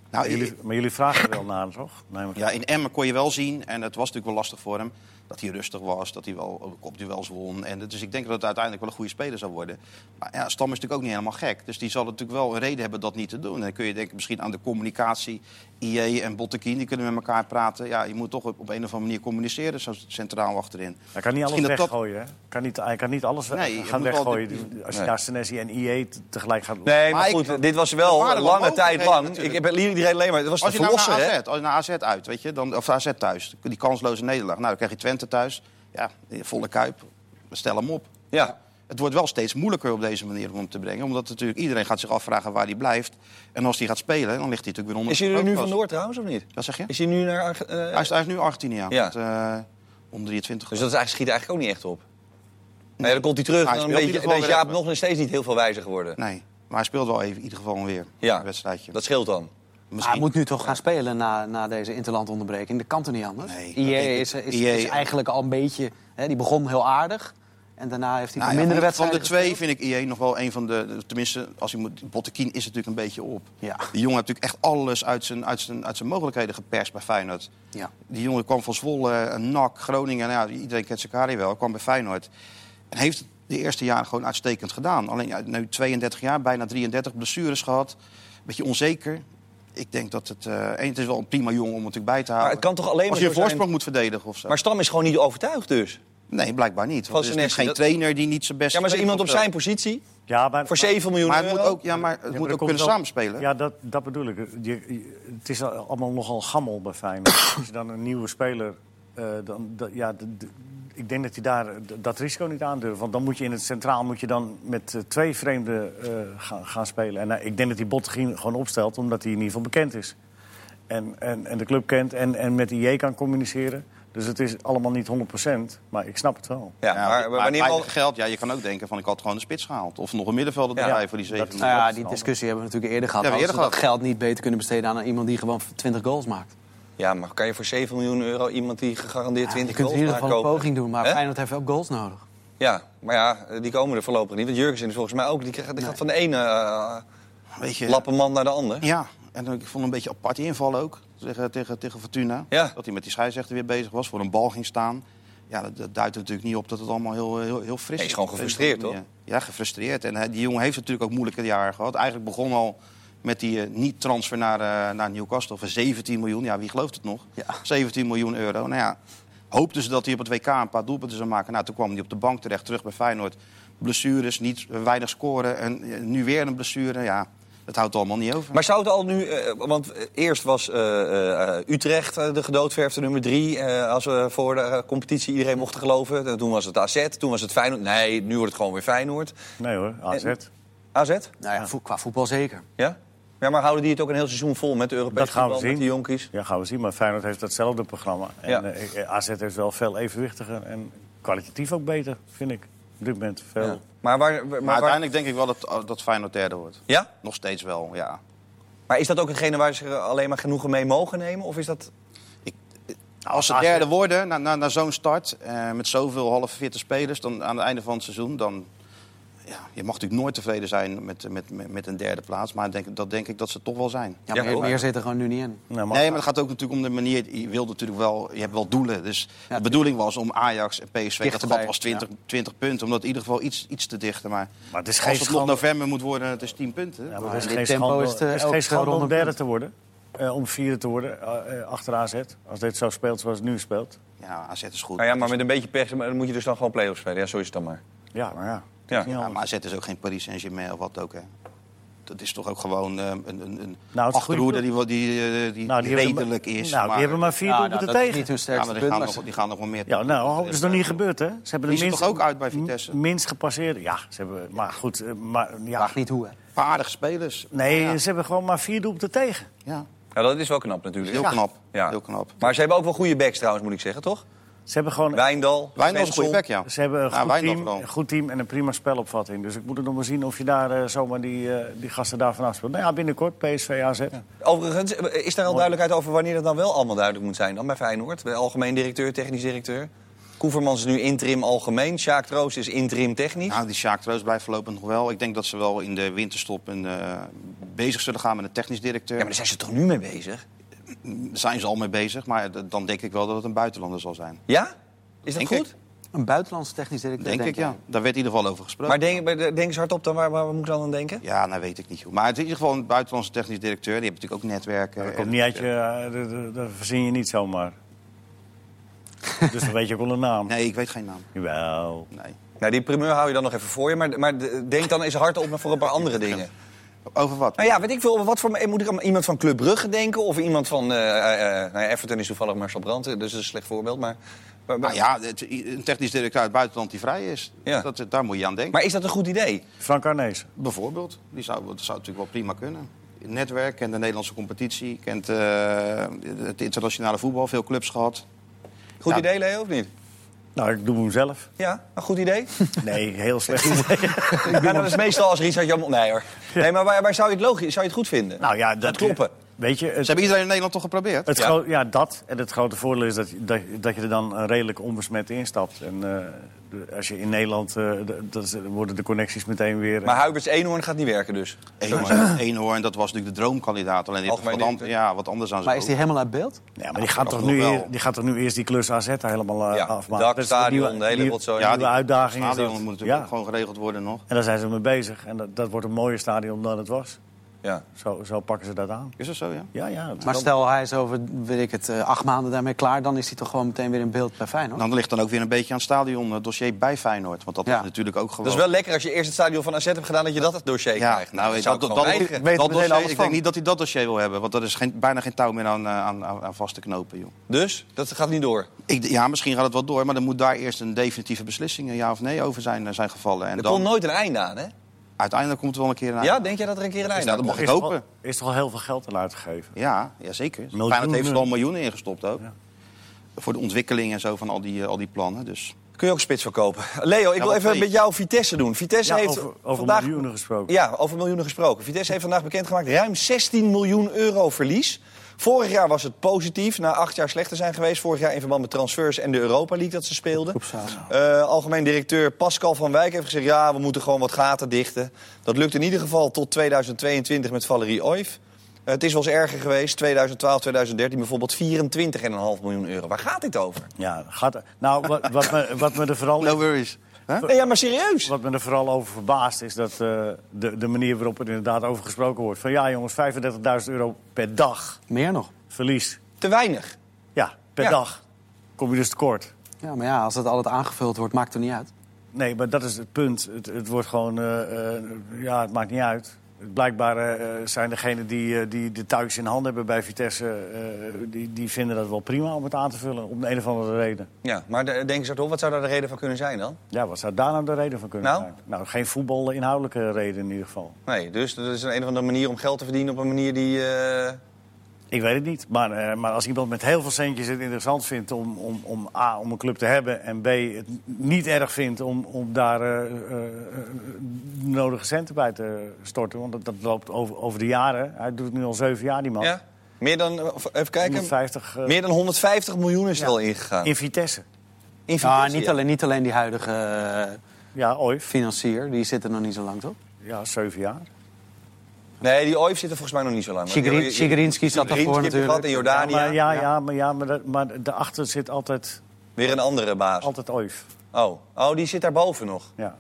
Speaker 2: Nou,
Speaker 3: Maar jullie, maar jullie vragen er wel naar, toch? Nee, maar...
Speaker 2: Ja, in Emmen kon je wel zien, en het was natuurlijk wel lastig voor hem... dat hij rustig was, dat hij wel op kopduels won. En, dus ik denk dat het uiteindelijk wel een goede speler zou worden. Maar ja, Stam is natuurlijk ook niet helemaal gek. Dus die zal natuurlijk wel een reden hebben dat niet te doen. En dan kun je denken misschien aan de communicatie. IE en Bottekin, die kunnen met elkaar praten. Ja, je moet toch op op een of andere manier communiceren, zo centraal achterin.
Speaker 3: Hij kan niet alles
Speaker 2: Misschien dat dat-
Speaker 3: weggooien, hè? Kan niet, hij kan niet alles we-
Speaker 2: Nee, je
Speaker 3: gaan
Speaker 2: moet wel
Speaker 3: weggooien.
Speaker 2: die-
Speaker 3: Dus Als je
Speaker 1: Nee.
Speaker 3: naar Senesi en IE te- tegelijk gaat...
Speaker 1: Nee, maar,
Speaker 2: Maar eh, ik-
Speaker 1: goed, dit was
Speaker 2: er
Speaker 1: wel
Speaker 2: waren
Speaker 1: een
Speaker 2: wel
Speaker 1: lange tijd
Speaker 2: mogelijkheden
Speaker 1: lang. Ik
Speaker 2: natuurlijk.
Speaker 1: heb iedereen alleen maar... Het was
Speaker 2: Als
Speaker 1: de
Speaker 2: je, nou naar
Speaker 1: verlosser,
Speaker 2: AZ,
Speaker 1: hè?
Speaker 2: als je naar AZ uit, weet je, dan, of AZ thuis, die kansloze nederlaag. Nou, dan krijg je Twente thuis. Ja, volle kuip. Stel hem op.
Speaker 1: Ja.
Speaker 2: Het wordt wel steeds moeilijker op deze manier om hem te brengen. Omdat natuurlijk iedereen gaat zich afvragen waar hij blijft. En als hij gaat spelen, dan ligt hij natuurlijk weer onder
Speaker 1: Is hij er nu vandoor trouwens, of niet?
Speaker 2: Wat zeg je?
Speaker 1: Is hij nu naar... Arge- eh,
Speaker 2: Hij is, hij is nu 18 jaar.
Speaker 1: Ja.
Speaker 2: Ja. Met, eh, onder 23.
Speaker 1: Dus dat is eigenlijk, schiet er eigenlijk ook niet echt op. Nee, dan komt hij terug
Speaker 2: Hij
Speaker 1: en dan
Speaker 2: speelt in
Speaker 1: weet je,
Speaker 2: ieder
Speaker 1: dan
Speaker 2: geval
Speaker 1: is
Speaker 2: weer
Speaker 1: Jaap
Speaker 2: even.
Speaker 1: nog steeds niet heel veel wijzer geworden.
Speaker 2: Nee, maar hij speelt wel even, in ieder geval weer
Speaker 1: Ja,
Speaker 2: een wedstrijdje.
Speaker 1: dat Ah, scheelt dan.
Speaker 4: Maar hij moet nu toch gaan spelen na, na deze interlandonderbreking. Dat kan toch niet anders?
Speaker 2: Nee, dat E denk ik.
Speaker 4: IE is, is, is
Speaker 2: IE
Speaker 4: eigenlijk al een beetje... Hè, die begon heel aardig. En daarna heeft hij
Speaker 2: Nou ja,
Speaker 4: mindere
Speaker 2: van-
Speaker 4: wedstrijden
Speaker 2: Van de twee
Speaker 4: gespeeld.
Speaker 2: vind ik IE nog wel een van de... Tenminste, als je moet... Bottekin is natuurlijk een beetje op.
Speaker 4: Ja.
Speaker 2: Die jongen heeft natuurlijk echt alles uit zijn, uit zijn, uit zijn mogelijkheden geperst bij Feyenoord.
Speaker 4: Ja.
Speaker 2: Die jongen kwam van Zwolle, eh, NAC, Groningen. Nou ja, iedereen kent Zakari wel. kwam bij Feyenoord. En heeft het de eerste jaren gewoon uitstekend gedaan. Alleen ja, nu 32 jaar, bijna 33, blessures gehad. Beetje onzeker. Ik denk dat het... eh, en het is wel een prima jongen om er natuurlijk bij te houden.
Speaker 1: Maar het kan toch alleen maar
Speaker 2: Als je
Speaker 1: zo
Speaker 2: een
Speaker 1: zijn-
Speaker 2: voorsprong moet verdedigen of zo.
Speaker 1: Maar Stam is gewoon niet overtuigd dus.
Speaker 2: Nee, blijkbaar niet.
Speaker 1: Van
Speaker 2: Want er is
Speaker 1: Senesi,
Speaker 2: natuurlijk geen
Speaker 1: dat-
Speaker 2: trainer die niet zijn best
Speaker 1: Ja, maar is er iemand op zijn positie
Speaker 3: Ja, maar,
Speaker 1: voor 7 miljoen
Speaker 2: Maar
Speaker 1: euro?
Speaker 2: het moet ook, ja, maar het
Speaker 3: Ja, maar
Speaker 2: moet
Speaker 3: er
Speaker 2: ook
Speaker 3: komt
Speaker 2: kunnen
Speaker 3: wel-
Speaker 2: samenspelen.
Speaker 3: Ja, dat, dat bedoel ik. Je- je- het is al- allemaal nogal gammel bij Feyenoord. Als je dan een nieuwe speler... eh, dan, dat- ja, d- d- ik denk dat hij daar eh, d- dat risico niet aandurft. Want dan moet je in het centraal moet je dan met eh, twee vreemden eh, gaan, gaan spelen. En eh, ik denk dat hij Bottegien gewoon opstelt, omdat hij in ieder geval bekend is. En, en, en de club kent en, en met IE kan communiceren. Dus het is allemaal niet 100%, maar ik snap het wel.
Speaker 1: Ja, maar, wanneer
Speaker 2: weinig
Speaker 1: al...
Speaker 2: geld, ja, je kan ook denken van ik had gewoon een spits gehaald. Of nog een middenvelder
Speaker 1: Ja.
Speaker 2: erbij voor die zeven.
Speaker 3: Dat-
Speaker 4: Nou ja,
Speaker 3: Dat is
Speaker 4: die
Speaker 3: wel-
Speaker 4: discussie hebben we natuurlijk eerder gehad.
Speaker 2: Ja, we
Speaker 4: Hadden
Speaker 2: eerder
Speaker 4: ze dat geld niet beter kunnen besteden aan iemand die gewoon 20 goals maakt.
Speaker 1: Ja, maar kan je voor 7 miljoen euro iemand die gegarandeerd
Speaker 4: Ja, je
Speaker 1: 20
Speaker 4: kunt in
Speaker 1: goals
Speaker 4: ieder
Speaker 1: maakt
Speaker 4: geval een
Speaker 1: kopen?
Speaker 4: poging doen, maar
Speaker 1: Hè?
Speaker 4: Feyenoord heeft wel goals nodig.
Speaker 1: Ja, maar ja, eh, die komen er voorlopig niet. Want Jurgensen is volgens mij ook, die, krijgt- die gaat van de ene eh,
Speaker 2: Weet je,
Speaker 1: lappenman naar de ander.
Speaker 2: Ja, en dan- ik vond een beetje apart inval ook tegen, tegen, tegen Fortuna.
Speaker 1: Ja.
Speaker 2: Dat hij met die scheidsrechter weer bezig was, voor een bal ging staan. Ja, dat, dat duidt er natuurlijk niet op dat het allemaal heel, heel, heel fris is.
Speaker 1: Hij is gewoon gefrustreerd, toch?
Speaker 2: Ja, gefrustreerd. En eh, die jongen heeft natuurlijk ook moeilijke jaren gehad. Eigenlijk begon al met die eh, niet-transfer naar, eh, naar Newcastle voor 17 miljoen. Ja, wie gelooft het nog?
Speaker 4: Ja.
Speaker 2: 17 miljoen euro. Nou ja, hoopten ze dat hij op het WK een paar doelpunten zou maken. Nou, toen kwam hij op de bank terecht, terug bij Feyenoord. Blessures, niet, eh, weinig scoren. En eh, nu weer een blessure. Ja, dat houdt allemaal niet over.
Speaker 1: Maar zou het al nu, eh, want eh, eerst was eh, eh, Utrecht eh, de gedoodverfde nummer drie. eh, als we voor de eh, competitie iedereen mochten geloven. Eh, Toen was het AZ, toen was het Feyenoord. Nee, nu wordt het gewoon weer Feyenoord.
Speaker 3: Nee hoor, AZ.
Speaker 1: En- AZ?
Speaker 4: Nou ja, vo- qua voetbal zeker.
Speaker 1: Ja? Ja, maar houden die het ook een heel seizoen vol met de Europese
Speaker 3: Dat gaan we
Speaker 1: voetbal,
Speaker 3: zien.
Speaker 1: met de jonkies?
Speaker 3: Ja, gaan we zien. Maar Feyenoord heeft datzelfde programma. En
Speaker 1: Ja.
Speaker 3: eh, AZ is wel veel evenwichtiger en kwalitatief ook beter, vind ik. Op dit moment veel.
Speaker 1: Ja. Maar, waar, maar,
Speaker 2: Maar
Speaker 1: waar-
Speaker 2: uiteindelijk denk ik wel dat, oh, dat Feyenoord derde wordt.
Speaker 1: ja?
Speaker 2: Nog steeds wel, ja.
Speaker 1: maar is dat ook hetgene waar ze alleen maar genoegen mee mogen nemen? Of is dat...
Speaker 2: Nou, Als ze
Speaker 3: AZ
Speaker 2: derde worden, na, na, na zo'n start, eh, met zoveel halve fitte spelers... dan aan het einde van het seizoen, dan ja, je mag natuurlijk nooit tevreden zijn met, met, met, met een derde plaats. Maar denk, dat denk ik dat ze toch wel zijn.
Speaker 4: Ja,
Speaker 1: Ja,
Speaker 4: maar meer,
Speaker 1: ook.
Speaker 4: meer zit er gewoon nu niet in.
Speaker 3: Nou,
Speaker 2: Nee, maar het gaat ook natuurlijk om de manier. Je wil natuurlijk wel, je hebt wel doelen. Dus de bedoeling was om Ajax en PSV. Dat
Speaker 4: Dichterbij,
Speaker 2: gat was 20, 20 punten. Om dat in ieder geval iets, iets te dichten. Maar,
Speaker 3: Maar het is geen
Speaker 2: als het nog
Speaker 3: schande.
Speaker 2: november moet worden, het is 10 punten.
Speaker 3: Ja, maar er is
Speaker 4: in dit
Speaker 3: geen
Speaker 4: tempo
Speaker 3: schande,
Speaker 4: is het, eh,
Speaker 3: er is
Speaker 4: elke
Speaker 3: geen schande om
Speaker 4: ronde
Speaker 3: derde
Speaker 4: punt.
Speaker 3: te worden. eh, om vierde te worden eh, eh, achter AZ. Als dit zo speelt zoals het nu speelt.
Speaker 2: Ja, AZ is goed.
Speaker 1: Nou ja, maar met een beetje pech maar dan moet je dus dan gewoon play-offs spelen. Ja, zo is het dan maar.
Speaker 3: Ja, maar ja. het is
Speaker 1: Ja.
Speaker 3: niet
Speaker 2: Ja,
Speaker 3: anders.
Speaker 2: maar AZ is ook geen Paris Saint-Germain of wat ook, hè. Dat is toch ook gewoon eh, een, een, een
Speaker 3: Nou, het is
Speaker 2: achterhoede
Speaker 3: goed.
Speaker 2: die, wel- die, eh, die
Speaker 3: Nou, die hebben
Speaker 2: redelijk
Speaker 3: maar-
Speaker 2: is.
Speaker 3: Nou,
Speaker 2: maar,
Speaker 3: die hebben maar vier
Speaker 4: Ja, nou,
Speaker 3: doelpunten
Speaker 4: dat is
Speaker 3: tegen.
Speaker 4: niet hun
Speaker 2: ja,
Speaker 4: sterkste
Speaker 2: maar die,
Speaker 4: punt.
Speaker 2: gaan
Speaker 4: maar ze-
Speaker 2: nog, die gaan nog wel meer...
Speaker 3: Ja, nou, dat is nog niet gebeurd, hè? Ze hebben
Speaker 2: Die
Speaker 3: de
Speaker 2: is er
Speaker 3: minst,
Speaker 2: toch ook uit bij Vitesse?
Speaker 3: minst gepasseerd. Ja, ze hebben, maar goed, eh, maar, ja.
Speaker 4: Vraag niet hoe, hè.
Speaker 2: Paardige spelers.
Speaker 3: Nee,
Speaker 2: Ja,
Speaker 3: ze hebben gewoon maar vier doelpunten tegen.
Speaker 2: ja.
Speaker 1: Ja, Nou, dat is wel knap natuurlijk.
Speaker 2: Heel, knap.
Speaker 1: Ja.
Speaker 2: heel knap.
Speaker 1: Maar ze hebben ook wel goede backs trouwens, moet ik zeggen, toch?
Speaker 3: Ze hebben gewoon
Speaker 1: Wijndal,
Speaker 2: Wijnald is een goede
Speaker 1: Svensson.
Speaker 2: bek, ja.
Speaker 3: Ze hebben een
Speaker 2: Ja,
Speaker 3: goed,
Speaker 2: Wijndal
Speaker 3: team,
Speaker 2: wel.
Speaker 3: een goed team en een prima spelopvatting. Dus ik moet het nog maar zien of je daar eh, zomaar die, eh, die gasten daar vanaf speelt. Nou ja, binnenkort PSV AZ.
Speaker 1: Overigens, eh, is daar al duidelijkheid over wanneer dat dan wel allemaal duidelijk moet zijn? Dan bij Feyenoord, bij algemeen directeur, technisch directeur. Koevermans is nu interim algemeen. Sjaak Troost is interim technisch.
Speaker 2: Nou, die Sjaak Troost blijft voorlopig nog wel. Ik denk dat ze wel in de winterstop een, eh, bezig zullen gaan met een technisch directeur. Mm,
Speaker 1: Ja, maar daar zijn ze toch nu mee bezig?
Speaker 2: Daar zijn ze al mee bezig, maar d- dan denk ik wel dat het een buitenlander zal zijn.
Speaker 1: Ja? Is dat
Speaker 2: Denk
Speaker 1: goed?
Speaker 2: ik.
Speaker 4: Een buitenlandse technisch directeur,
Speaker 2: Denk, ik,
Speaker 4: jij?
Speaker 2: ja. Daar werd in ieder geval over gesproken.
Speaker 1: Maar denk, maar denk eens hardop dan, waar, waar moet ik dan aan denken?
Speaker 2: Ja, nou weet ik niet. hoe. Maar het is in ieder geval een buitenlandse technisch directeur. Die heeft natuurlijk ook netwerken.
Speaker 3: Dat komt niet uit je, eh, dat- dat- dat verzin je niet zomaar. dus dan weet je ook wel een naam.
Speaker 2: Nee, ik weet geen naam.
Speaker 3: Jawel.
Speaker 2: Nee.
Speaker 1: Nou, die primeur hou je dan nog even voor je. Maar, maar de- denk dan eens hardop voor een paar andere dingen.
Speaker 2: Over wat?
Speaker 1: Nou ja, weet ik veel. Wat voor, moet ik aan iemand van Club Brugge denken? Of iemand van... eh, eh, eh, nou ja, Everton is toevallig Marcel Brandt, dus dat is een slecht voorbeeld. Maar, maar,
Speaker 2: Nou ja, het- een technisch directeur uit het buitenland die vrij is.
Speaker 1: Ja.
Speaker 2: Dat, daar moet je aan denken.
Speaker 1: maar is dat een goed idee?
Speaker 3: Frank Arnees.
Speaker 2: Bijvoorbeeld. Die zou, dat zou natuurlijk wel prima kunnen. Netwerk, kent de Nederlandse competitie, kent eh, het internationale voetbal, veel clubs gehad.
Speaker 1: Goed
Speaker 2: Ja.
Speaker 1: idee, Leo, of niet?
Speaker 3: Nou, ik doe hem zelf.
Speaker 1: Ja, een goed idee.
Speaker 3: Nee, heel slecht.
Speaker 1: Ja, nou, dat is meestal als Richard Jan... Nee hoor. Nee, maar waar, waar zou je het logisch, zou je het goed vinden?
Speaker 3: nou ja,
Speaker 1: dat kloppen.
Speaker 3: Weet je,
Speaker 2: Ze
Speaker 3: het,
Speaker 2: hebben iedereen in Nederland toch geprobeerd?
Speaker 3: het
Speaker 1: Ja.
Speaker 3: gro- ja, dat. En het grote voordeel is dat, je- dat, dat je er dan eh, redelijk onbesmet instapt. En eh, de- als je in Nederland, eh, d- dat is- dan worden de connecties meteen weer...
Speaker 1: Maar Huiberts Eenhoorn gaat niet werken dus.
Speaker 2: Eenhoorn, Eenhoorn, dat was natuurlijk de droomkandidaat. Alleen die heeft
Speaker 1: Algemeen
Speaker 2: wat, an- ja, wat anders aan
Speaker 4: Maar
Speaker 2: zijn
Speaker 4: is die
Speaker 2: hoofd.
Speaker 4: helemaal uit beeld?
Speaker 3: Ja, maar die gaat,
Speaker 2: dat
Speaker 3: toch
Speaker 2: nog
Speaker 3: nu
Speaker 2: wel.
Speaker 3: eer- die gaat toch nu eerst die klus AZ helemaal eh,
Speaker 1: Ja,
Speaker 3: afmaken?
Speaker 1: dak,
Speaker 3: Dat is
Speaker 1: stadion,
Speaker 3: nieuwe-
Speaker 1: de hele
Speaker 3: nieuwe-
Speaker 1: rotzooi.
Speaker 3: nieuwe
Speaker 2: die
Speaker 3: uitdaging is
Speaker 2: stadion
Speaker 3: dat.
Speaker 2: moet natuurlijk
Speaker 3: ja.
Speaker 2: ook gewoon geregeld worden nog.
Speaker 3: En daar zijn ze mee bezig. En dat, dat wordt een mooier stadion dan het was.
Speaker 1: Ja.
Speaker 3: Zo, zo pakken ze dat aan.
Speaker 2: Is dat zo, ja?
Speaker 3: Ja, ja. dat-
Speaker 4: Maar stel, hij is over, weet ik het, eh, acht maanden daarmee klaar... dan is hij toch gewoon meteen weer in beeld bij Feyenoord?
Speaker 2: Nou, Dan ligt dan ook weer een beetje aan het stadion eh, dossier bij Feyenoord. Want dat
Speaker 4: Ja.
Speaker 2: is natuurlijk ook gewoon...
Speaker 1: Dat is wel lekker als je eerst het stadion van AZ hebt gedaan... dat je dat het dossier
Speaker 2: Ja,
Speaker 1: krijgt.
Speaker 2: nou,
Speaker 1: ik
Speaker 2: dat,
Speaker 1: zou
Speaker 2: dat,
Speaker 1: het
Speaker 2: dat,
Speaker 1: gewoon weigeren.
Speaker 2: dat
Speaker 4: Weten we
Speaker 2: dossier,
Speaker 4: meteen alles
Speaker 2: ik denk
Speaker 4: van.
Speaker 2: niet dat hij dat dossier wil hebben. Want dat is geen, bijna geen touw meer aan, eh, aan, aan, aan vast te knopen, joh.
Speaker 1: Dus, dat gaat niet door.
Speaker 2: Ik, d- ja, misschien gaat het wel door, maar dan moet daar eerst een definitieve beslissing, eh, ja of nee, over zijn, eh, zijn gevallen. En
Speaker 1: Er
Speaker 2: dan,
Speaker 1: komt nooit een einde aan, hè?
Speaker 2: uiteindelijk komt er wel een keer een...
Speaker 1: Ja, denk jij dat er een keer een einde
Speaker 2: dat nou
Speaker 1: aan komt?
Speaker 2: mag ik
Speaker 3: is toch
Speaker 2: hopen.
Speaker 3: al- Is toch al heel veel geld aan uitgegeven?
Speaker 2: Ja, ja zeker.
Speaker 3: Miljoenen.
Speaker 2: Feyenoord heeft er al miljoenen ingestopt ook. Voor de ontwikkeling en zo van al die, eh, al die plannen. Dus
Speaker 1: Kun je ook spits verkopen. Leo, ik wil
Speaker 2: wat
Speaker 1: even
Speaker 2: twee.
Speaker 1: met jou Vitesse doen. Vitesse
Speaker 3: Ja,
Speaker 1: heeft
Speaker 3: over, over
Speaker 1: vandaag...
Speaker 3: miljoenen gesproken.
Speaker 1: Ja, over miljoenen gesproken. Vitesse heeft vandaag bekendgemaakt ruim 16 miljoen euro verlies. Vorig jaar was het positief, na acht jaar slecht te zijn geweest. Vorig jaar in verband met transfers en de Europa League dat ze speelden. Eh, algemeen directeur Pascal van Wijk heeft gezegd... ja, we moeten gewoon wat gaten dichten. Dat lukt in ieder geval tot 2022 met Valerie Oif. Eh, het is wel eens erger geweest, 2012, 2013 bijvoorbeeld 24,5 miljoen euro. Waar gaat dit over?
Speaker 3: Ja, gaat, nou, wat, wat, me, wat, me er vooral,
Speaker 2: no worries. Hè?
Speaker 1: Nee, ja, maar serieus.
Speaker 3: wat me er vooral over verbaast is dat, eh, de, de manier waarop er inderdaad over gesproken wordt. Van ja, jongens, 35.000 euro per dag
Speaker 4: Meer nog.
Speaker 3: verlies.
Speaker 1: Te weinig.
Speaker 3: Ja, per
Speaker 1: Ja.
Speaker 3: dag kom je dus tekort.
Speaker 4: Ja, maar ja, als dat altijd aangevuld wordt, maakt het niet uit.
Speaker 3: Nee, maar dat is het punt. Het, het wordt gewoon, eh, eh, ja, het maakt niet uit. Blijkbaar eh, zijn degenen die, eh, die de touwtjes in handen hebben bij Vitesse... eh, die, die vinden dat wel prima om het aan te vullen, om de een of andere reden.
Speaker 1: Ja, maar de- denk eens hardop, wat zou daar de reden van kunnen zijn dan?
Speaker 3: Ja, wat zou daar nou de reden van kunnen
Speaker 1: Nou?
Speaker 3: zijn? Nou, geen voetbal-inhoudelijke reden in ieder geval.
Speaker 1: Nee, dus dat is een, een of andere manier om geld te verdienen op een manier die... eh,
Speaker 3: Ik weet het niet. Maar, eh, maar als iemand met heel veel centjes het interessant vindt om, om, om A, om een club te hebben... en B, het niet erg vindt om, om daar eh, eh, eh, de nodige centen bij te storten... want dat, dat loopt over, over de jaren. Hij doet het nu al zeven jaar, die man.
Speaker 1: Ja, meer dan, eh, of- even kijken,
Speaker 3: 150 eh,
Speaker 1: meer dan 150 miljoen is er al ingegaan.
Speaker 3: in Vitesse.
Speaker 1: In
Speaker 4: Ja,
Speaker 1: Vitesse,
Speaker 4: niet,
Speaker 1: ja.
Speaker 4: alleen, niet alleen die huidige eh,
Speaker 3: Ja, Oif.
Speaker 4: financier, die zit er nog niet zo lang, toch?
Speaker 3: Ja, zeven jaar.
Speaker 1: Nee, die OIF zit er volgens mij nog niet zo lang.
Speaker 4: Shigerin-
Speaker 1: Je- je- je-
Speaker 4: Shigelinski zat
Speaker 1: Shigelinski
Speaker 4: daarvoor
Speaker 1: heb je gehad
Speaker 4: natuurlijk.
Speaker 1: in
Speaker 3: Ja,
Speaker 1: Jordanië.
Speaker 3: maar, ja, ja, maar, ja, maar, dat- maar daarachter zit altijd,
Speaker 1: Weer een andere baas.
Speaker 3: altijd Oif.
Speaker 1: Oh. oh, die zit daarboven nog.
Speaker 3: Ja.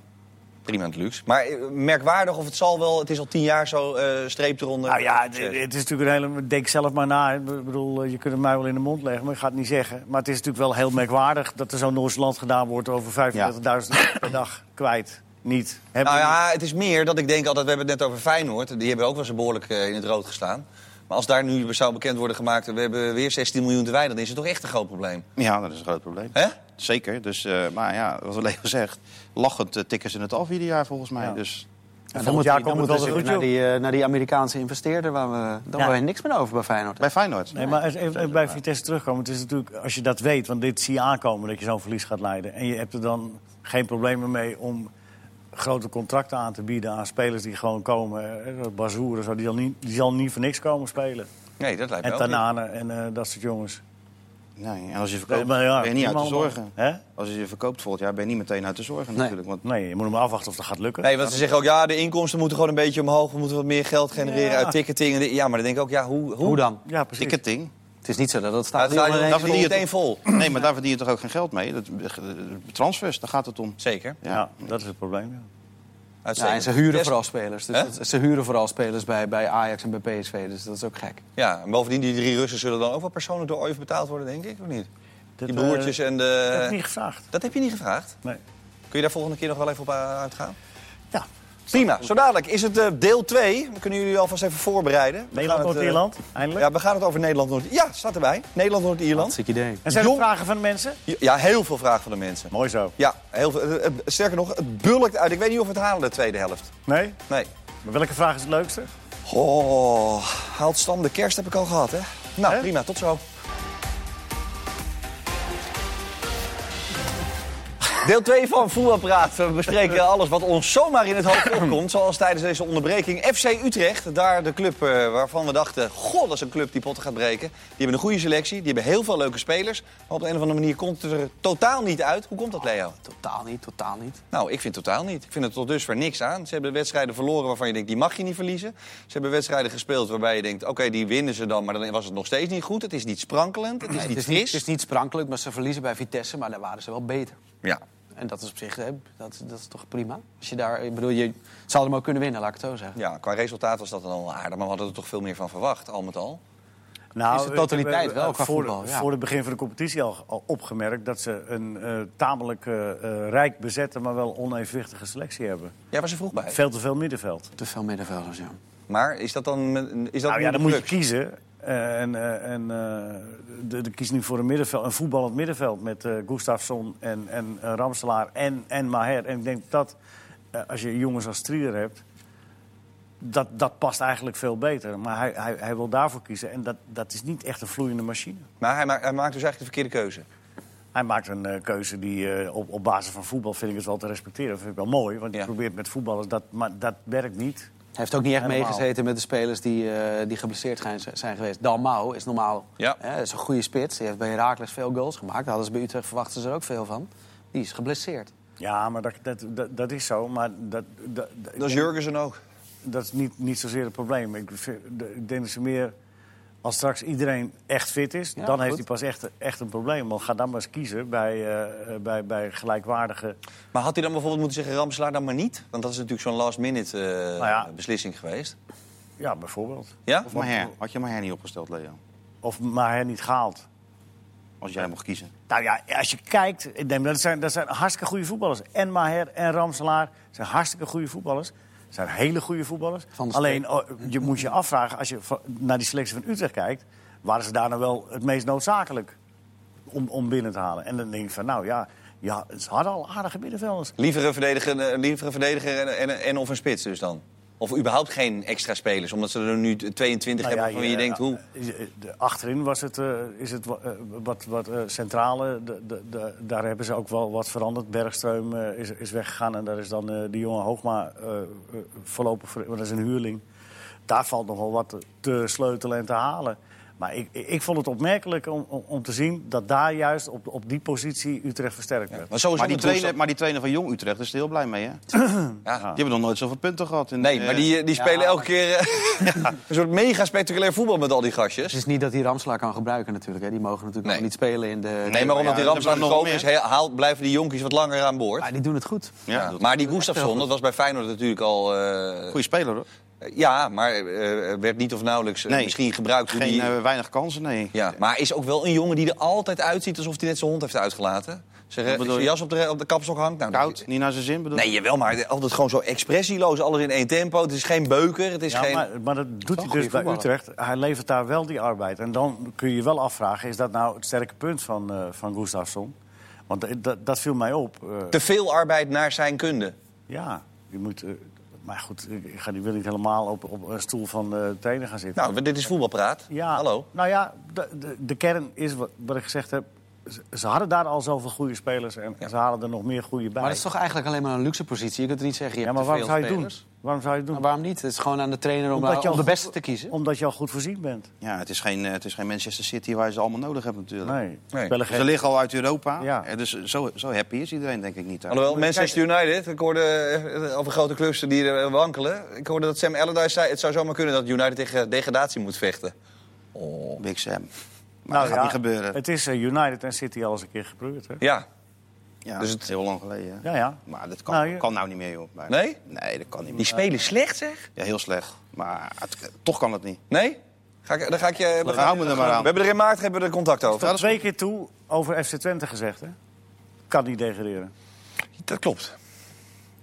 Speaker 1: Prima het luxe. Maar eh, merkwaardig of het zal wel. Het is al tien jaar zo eh, streep eronder.
Speaker 3: Nou ja, het, het is natuurlijk een hele. Denk zelf maar na. Ik bedoel, eh, je kunt het mij wel in de mond leggen, maar ik ga het niet zeggen. Maar het is natuurlijk wel heel merkwaardig dat er zo'n Noors land gedaan wordt over 35.000 per dag kwijt. Niet. Hebben
Speaker 1: Nou
Speaker 3: we
Speaker 1: ja, het is meer dat ik denk altijd, we hebben het net over Feyenoord. Die hebben ook wel eens behoorlijk eh, in het rood gestaan. Maar als daar nu zou bekend worden gemaakt, we hebben weer 16 miljoen te weinig, dan is het toch echt een groot probleem.
Speaker 2: Ja, dat is een groot probleem.
Speaker 1: Hè?
Speaker 2: Zeker. Dus, eh, maar ja, wat Leo zegt, lachend eh, tikken ze het af ieder jaar volgens mij.
Speaker 3: Ja.
Speaker 2: Dus
Speaker 3: niet.
Speaker 4: Ja,
Speaker 3: En
Speaker 4: dan
Speaker 3: volgend
Speaker 4: moet
Speaker 3: jaar
Speaker 4: hij- dan
Speaker 3: komt het
Speaker 4: moet
Speaker 3: wel
Speaker 4: hij
Speaker 3: weer goed,
Speaker 4: naar
Speaker 3: joh.
Speaker 4: die, eh, naar die Amerikaanse investeerder, waar we, daar
Speaker 3: Ja.
Speaker 4: hebben we niks meer over bij Feyenoord.
Speaker 2: bij Feyenoord.
Speaker 3: Nee, maar even even bij Vitesse terugkomen. Het is natuurlijk, als je dat weet, want dit zie je aankomen dat je zo'n verlies gaat leiden. En je hebt er dan geen problemen mee om grote contracten aan te bieden aan spelers die gewoon komen. eh, Bazoer en zo, die zal niet, die zal niet voor niks komen spelen.
Speaker 1: Nee, dat lijkt me
Speaker 3: En
Speaker 1: ook niet.
Speaker 3: Tanane en eh, dat soort jongens.
Speaker 2: Nee, en als je verkoopt,
Speaker 3: maar ja,
Speaker 2: ben je niet uit de
Speaker 3: allemaal.
Speaker 2: zorgen.
Speaker 3: Hè?
Speaker 2: Als je je verkoopt volgend jaar, ben je niet meteen uit de zorgen
Speaker 4: Nee.
Speaker 2: natuurlijk. Want
Speaker 3: Nee, je moet hem afwachten of dat gaat lukken.
Speaker 1: Nee, want ze zeggen ook, ja, de inkomsten moeten gewoon een beetje omhoog. We moeten wat meer geld genereren
Speaker 3: Ja.
Speaker 1: uit ticketing. en dit. Ja, maar dan denk ik ook, ja, hoe? hoe?
Speaker 4: Hoe dan?
Speaker 3: Ja, precies.
Speaker 2: ticketing.
Speaker 4: Het is niet zo dat het
Speaker 1: Ja,
Speaker 4: staat.
Speaker 1: het gaat
Speaker 4: hier
Speaker 1: dan
Speaker 4: ineens-
Speaker 1: verdien je het meteen vol.
Speaker 2: Nee, maar daar verdien je toch ook geen geld mee? Dat, transfers, daar gaat het om.
Speaker 1: Zeker.
Speaker 3: Ja. dat is het probleem. ja.
Speaker 4: Ja, en
Speaker 1: Uitstekend.
Speaker 4: ze huren
Speaker 1: Des-
Speaker 4: vooral spelers. Dus
Speaker 1: Hè?
Speaker 4: dat- ze huren vooral spelers bij, bij Ajax en bij PSV. Dus dat is ook gek.
Speaker 1: Ja, en bovendien, die drie Russen zullen dan ook wel persoonlijk door OIF betaald worden, denk ik, of niet?
Speaker 3: Dat,
Speaker 1: die broertjes
Speaker 3: eh,
Speaker 1: en
Speaker 3: dat
Speaker 1: de...
Speaker 3: heb ik niet gevraagd.
Speaker 1: Dat heb je niet gevraagd?
Speaker 3: Nee.
Speaker 1: Kun je daar volgende keer nog wel even op eh, uitgaan?
Speaker 3: Ja,
Speaker 1: Prima, zo dadelijk is het eh, deel 2. Dan kunnen jullie alvast even voorbereiden. We gaan
Speaker 3: Nederland,
Speaker 1: het, eh,
Speaker 3: Noord-Ierland, eindelijk.
Speaker 1: Ja, we gaan het over Nederland-Noord... Ja, staat erbij. Nederland-Noord-Ierland.
Speaker 4: Ziek idee.
Speaker 3: En zijn er
Speaker 1: jong-
Speaker 3: vragen van de mensen?
Speaker 1: Ja, heel veel vragen van de mensen.
Speaker 3: Mooi zo.
Speaker 1: Ja, heel veel, eh, eh, sterker nog, het bulkt uit. Ik weet niet of we het halen, de tweede helft.
Speaker 3: Nee?
Speaker 1: Nee.
Speaker 3: Maar welke vraag is het leukste?
Speaker 1: Oh, haalt Stam de kerst heb ik al gehad, hè? Nou,
Speaker 3: Hè?
Speaker 1: prima, tot zo. Deel 2 van Voetbalpraat. We bespreken alles wat ons zomaar in het hoofd opkomt. Zoals tijdens deze onderbreking FC Utrecht. Daar de club eh, waarvan we dachten... God, dat is een club die potten gaat breken. Die hebben een goede selectie. Die hebben heel veel leuke spelers. Maar op de een of andere manier komt het er totaal niet uit. Hoe komt dat, Leo?
Speaker 4: Totaal niet, totaal niet.
Speaker 1: Nou, ik vind totaal niet. Ik vind het tot dusver niks aan. Ze hebben wedstrijden verloren waarvan je denkt, die mag je niet verliezen. Ze hebben wedstrijden gespeeld waarbij je denkt, oké, die winnen ze dan. Maar dan was het nog steeds niet goed. Het is niet sprankelend, het is
Speaker 4: Nee,
Speaker 1: niet
Speaker 4: het, is niet, het
Speaker 1: fris.
Speaker 4: is niet sprankelijk, maar ze verliezen bij Vitesse, maar daar waren ze wel beter.
Speaker 1: Ja.
Speaker 4: En dat is op zich, hè, dat, dat is toch prima? Als je daar, ik bedoel, je zou hem ook kunnen winnen, laat ik het zo zeggen.
Speaker 1: ja, qua resultaat was dat dan al aardig. Maar we hadden er toch veel meer van verwacht, al met al.
Speaker 3: Nou,
Speaker 4: Is de totaliteit
Speaker 3: ik heb, eh,
Speaker 4: wel qua
Speaker 3: voor,
Speaker 4: voetbal, ja.
Speaker 3: Voor het begin van de competitie al, al opgemerkt dat ze een eh, tamelijk eh, eh, rijk bezette, maar wel onevenwichtige selectie hebben.
Speaker 1: Jij was er vroeg bij.
Speaker 3: Veel te veel middenveld.
Speaker 4: Te veel middenvelders, ja.
Speaker 1: Maar is dat dan met- is dat
Speaker 3: nou
Speaker 1: nu de
Speaker 3: ja, dan moet je
Speaker 1: crux?
Speaker 3: kiezen. Eh, en eh, en eh, de, de kies nu voor een, middenveld, een voetballend middenveld met eh Gustafsson en, en eh, Ramselaar en, en Maher. En ik denk dat eh, als je jongens als Trier hebt, dat, dat past eigenlijk veel beter. Maar hij, hij, hij wil daarvoor kiezen en dat, dat is niet echt een vloeiende machine.
Speaker 1: Maar hij maakt, hij maakt dus eigenlijk de verkeerde keuze.
Speaker 3: Hij maakt een eh, keuze die eh, op, op basis van voetbal vind ik het wel te respecteren. Dat vind ik wel mooi, want
Speaker 1: Ja.
Speaker 3: hij probeert met voetballers dat, maar dat werkt niet.
Speaker 4: Hij heeft ook niet echt
Speaker 3: Helemaal.
Speaker 4: meegezeten met de spelers die, eh, die geblesseerd zijn, zijn geweest. Dalmau is normaal
Speaker 1: Ja.
Speaker 4: hè, is een goede spits. Die heeft bij Heracles veel goals gemaakt. Daar hadden ze bij Utrecht verwachten ze er ook veel van. Die is geblesseerd.
Speaker 3: Ja, maar dat, dat, dat, dat is zo. Maar dat, dat,
Speaker 1: Dat is Jurgensen ook.
Speaker 3: dat is niet, niet zozeer het probleem. Ik, vind- de- ik denk dat ze meer. Als straks iedereen echt fit is,
Speaker 4: Ja,
Speaker 3: dan heeft
Speaker 4: goed.
Speaker 3: hij pas echt, echt een probleem. Want ga dan maar eens kiezen bij, eh, eh, bij, bij gelijkwaardige.
Speaker 1: Maar had hij dan bijvoorbeeld moeten zeggen, Ramslaar dan maar niet? Want dat is natuurlijk zo'n last-minute eh,
Speaker 3: Nou ja.
Speaker 1: beslissing geweest.
Speaker 3: Ja, bijvoorbeeld.
Speaker 1: Ja?
Speaker 2: Of Maher. Had je Maher niet opgesteld, Leo?
Speaker 3: Of maar hij niet gehaald.
Speaker 2: Als jij mocht
Speaker 1: Oh,
Speaker 2: kiezen.
Speaker 3: Nou ja, als je kijkt, ik denk, dat, zijn, dat zijn hartstikke goede voetballers. En Maher en Ramselaar zijn hartstikke goede voetballers. Zijn hele goede voetballers.
Speaker 4: Van de
Speaker 3: Alleen oh, je moet je afvragen, als je va- naar die selectie van Utrecht kijkt, waren ze daar nou wel het meest noodzakelijk om, om binnen te halen? En dan denk ik van, nou ja, ja ze hadden al aardige middenvelders.
Speaker 1: Liever een verdediger, eh, liever een verdediger en, en, en of een spits dus dan? Of überhaupt geen extra spelers, omdat ze er nu 22
Speaker 3: Nou
Speaker 1: hebben
Speaker 3: ja,
Speaker 1: van wie je denkt, hoe?
Speaker 3: eh, de- Achterin was het, eh, is het wa- eh, wat, wat eh, centrale. De, de, de- daar hebben ze ook wel wat veranderd. Bergstreum eh, is, is weggegaan en daar is dan eh die jongen Hoogma eh, eh, voorlopig... Voor, want dat is een huurling. Daar valt nog wel wat te sleutelen en te halen. Maar ik, ik, ik vond het opmerkelijk om, om, om te zien dat daar juist op, op die positie Utrecht versterkt werd.
Speaker 1: Maar sowieso
Speaker 2: Maar die,
Speaker 1: met Doelstad-
Speaker 2: trainer, maar die trainer van Jong Utrecht is er heel blij mee, hè?
Speaker 1: Ja.
Speaker 2: Die hebben nog nooit zoveel punten gehad. In,
Speaker 1: Nee,
Speaker 2: eh,
Speaker 1: maar die, eh, die spelen
Speaker 4: ja.
Speaker 1: elke keer eh, een soort mega spectaculair voetbal met al die gastjes.
Speaker 4: Dus Het is niet dat die Ramslaar kan gebruiken natuurlijk. Hè. Die mogen natuurlijk
Speaker 1: Nee.
Speaker 4: nog niet spelen in de...
Speaker 1: Nee, maar omdat
Speaker 2: ja,
Speaker 1: die ramp
Speaker 2: er zijn
Speaker 1: aan
Speaker 2: nog
Speaker 1: gekomen
Speaker 2: meer.
Speaker 1: is, he- haal, blijven die jonkies wat langer aan boord.
Speaker 4: Maar die doen het goed.
Speaker 1: Ja,
Speaker 2: Ja,
Speaker 1: maar die Gustafsson, dat was bij Feyenoord natuurlijk al... eh,
Speaker 2: goede speler, hoor.
Speaker 1: ja, maar eh, werd niet of nauwelijks eh,
Speaker 2: Nee.
Speaker 1: misschien gebruikt. hoe
Speaker 2: Geen,
Speaker 1: die,
Speaker 2: eh, weinig kansen, nee.
Speaker 1: ja. Maar is ook wel een jongen die er altijd uitziet alsof hij net zijn hond heeft uitgelaten. Zijn, eh,
Speaker 2: Wat bedoel
Speaker 1: zijn
Speaker 2: je?
Speaker 1: jas op de, op de kapstok hangt. Nou,
Speaker 2: Koud, niet naar zijn zin, bedoel ik.
Speaker 1: Nee, jawel, maar altijd gewoon zo expressieloos. Alles in één tempo. Het is geen beuker. Het is
Speaker 3: Ja,
Speaker 1: geen...
Speaker 3: maar, maar dat doet
Speaker 2: wel
Speaker 3: hij
Speaker 2: goede
Speaker 3: dus bij
Speaker 2: voetballer.
Speaker 3: Utrecht. Hij levert daar wel die arbeid. En dan kun je je wel afvragen, is dat nou het sterke punt van, eh van Gustafsson? Want eh, dat- dat viel mij op. eh,
Speaker 1: Te veel arbeid naar zijn kunde.
Speaker 3: ja, je moet... eh, maar goed, ik ga die wil niet helemaal op, op een stoel van eh trainer gaan zitten.
Speaker 1: Nou, dit is voetbalpraat.
Speaker 3: Ja,
Speaker 1: Hallo.
Speaker 3: Nou ja, de, de, de kern is wat, wat ik gezegd heb. Ze, ze hadden daar al zoveel goede spelers en ze halen er nog meer goede bij.
Speaker 4: Maar dat is toch eigenlijk alleen maar een luxe positie? Je kunt er niet zeggen, je
Speaker 3: ja,
Speaker 4: hebt
Speaker 3: maar
Speaker 4: te
Speaker 3: waarom
Speaker 4: veel
Speaker 3: zou je het doen?
Speaker 4: spelers.
Speaker 3: Waarom zou je het doen?
Speaker 4: Maar waarom niet? Het is gewoon aan de trainer om,
Speaker 3: Omdat
Speaker 4: daar-
Speaker 3: je al
Speaker 4: om de
Speaker 3: goed-
Speaker 4: beste te kiezen.
Speaker 3: Omdat je al goed voorzien bent.
Speaker 2: Ja, het is, geen, eh, het is geen Manchester City waar je ze allemaal nodig hebt natuurlijk.
Speaker 3: Nee.
Speaker 1: Nee.
Speaker 3: Spelen
Speaker 2: Ze
Speaker 3: geen-
Speaker 2: liggen al uit Europa.
Speaker 3: Ja.
Speaker 2: Eh, Dus zo, zo happy is iedereen denk ik niet. daar.
Speaker 1: Alhoewel, Manchester United, ik hoorde eh, over grote clubs die er eh, wankelen. Ik hoorde dat Sam Allardyce zei, het zou zomaar kunnen dat United tegen degradatie moet vechten.
Speaker 2: Big Sam. Maar
Speaker 3: Nou
Speaker 2: dat gaat
Speaker 3: ja,
Speaker 2: niet gebeuren.
Speaker 3: Het is eh, United en City al eens een keer gebeurd, hè?
Speaker 1: Ja,
Speaker 2: ja,
Speaker 1: dus
Speaker 2: dus
Speaker 1: het-
Speaker 2: het... Heel lang geleden. hè.
Speaker 3: Ja, ja.
Speaker 2: Maar dat kan
Speaker 3: Nou,
Speaker 2: nou,
Speaker 3: je-
Speaker 2: kan nou niet meer, joh. bijna.
Speaker 1: Nee?
Speaker 2: Nee, dat kan niet
Speaker 1: die
Speaker 2: meer.
Speaker 1: spelen slecht zeg?
Speaker 2: Ja, heel slecht. Maar het- toch kan het niet.
Speaker 1: Nee? Ga ik, dan ga ik je... we gaan-
Speaker 2: Hou me er maar
Speaker 1: we
Speaker 2: aan.
Speaker 1: hebben er in maart hebben we er contact over.
Speaker 3: Tot twee keer toe over FC Twente gezegd, hè? Kan niet degraderen.
Speaker 1: Dat klopt.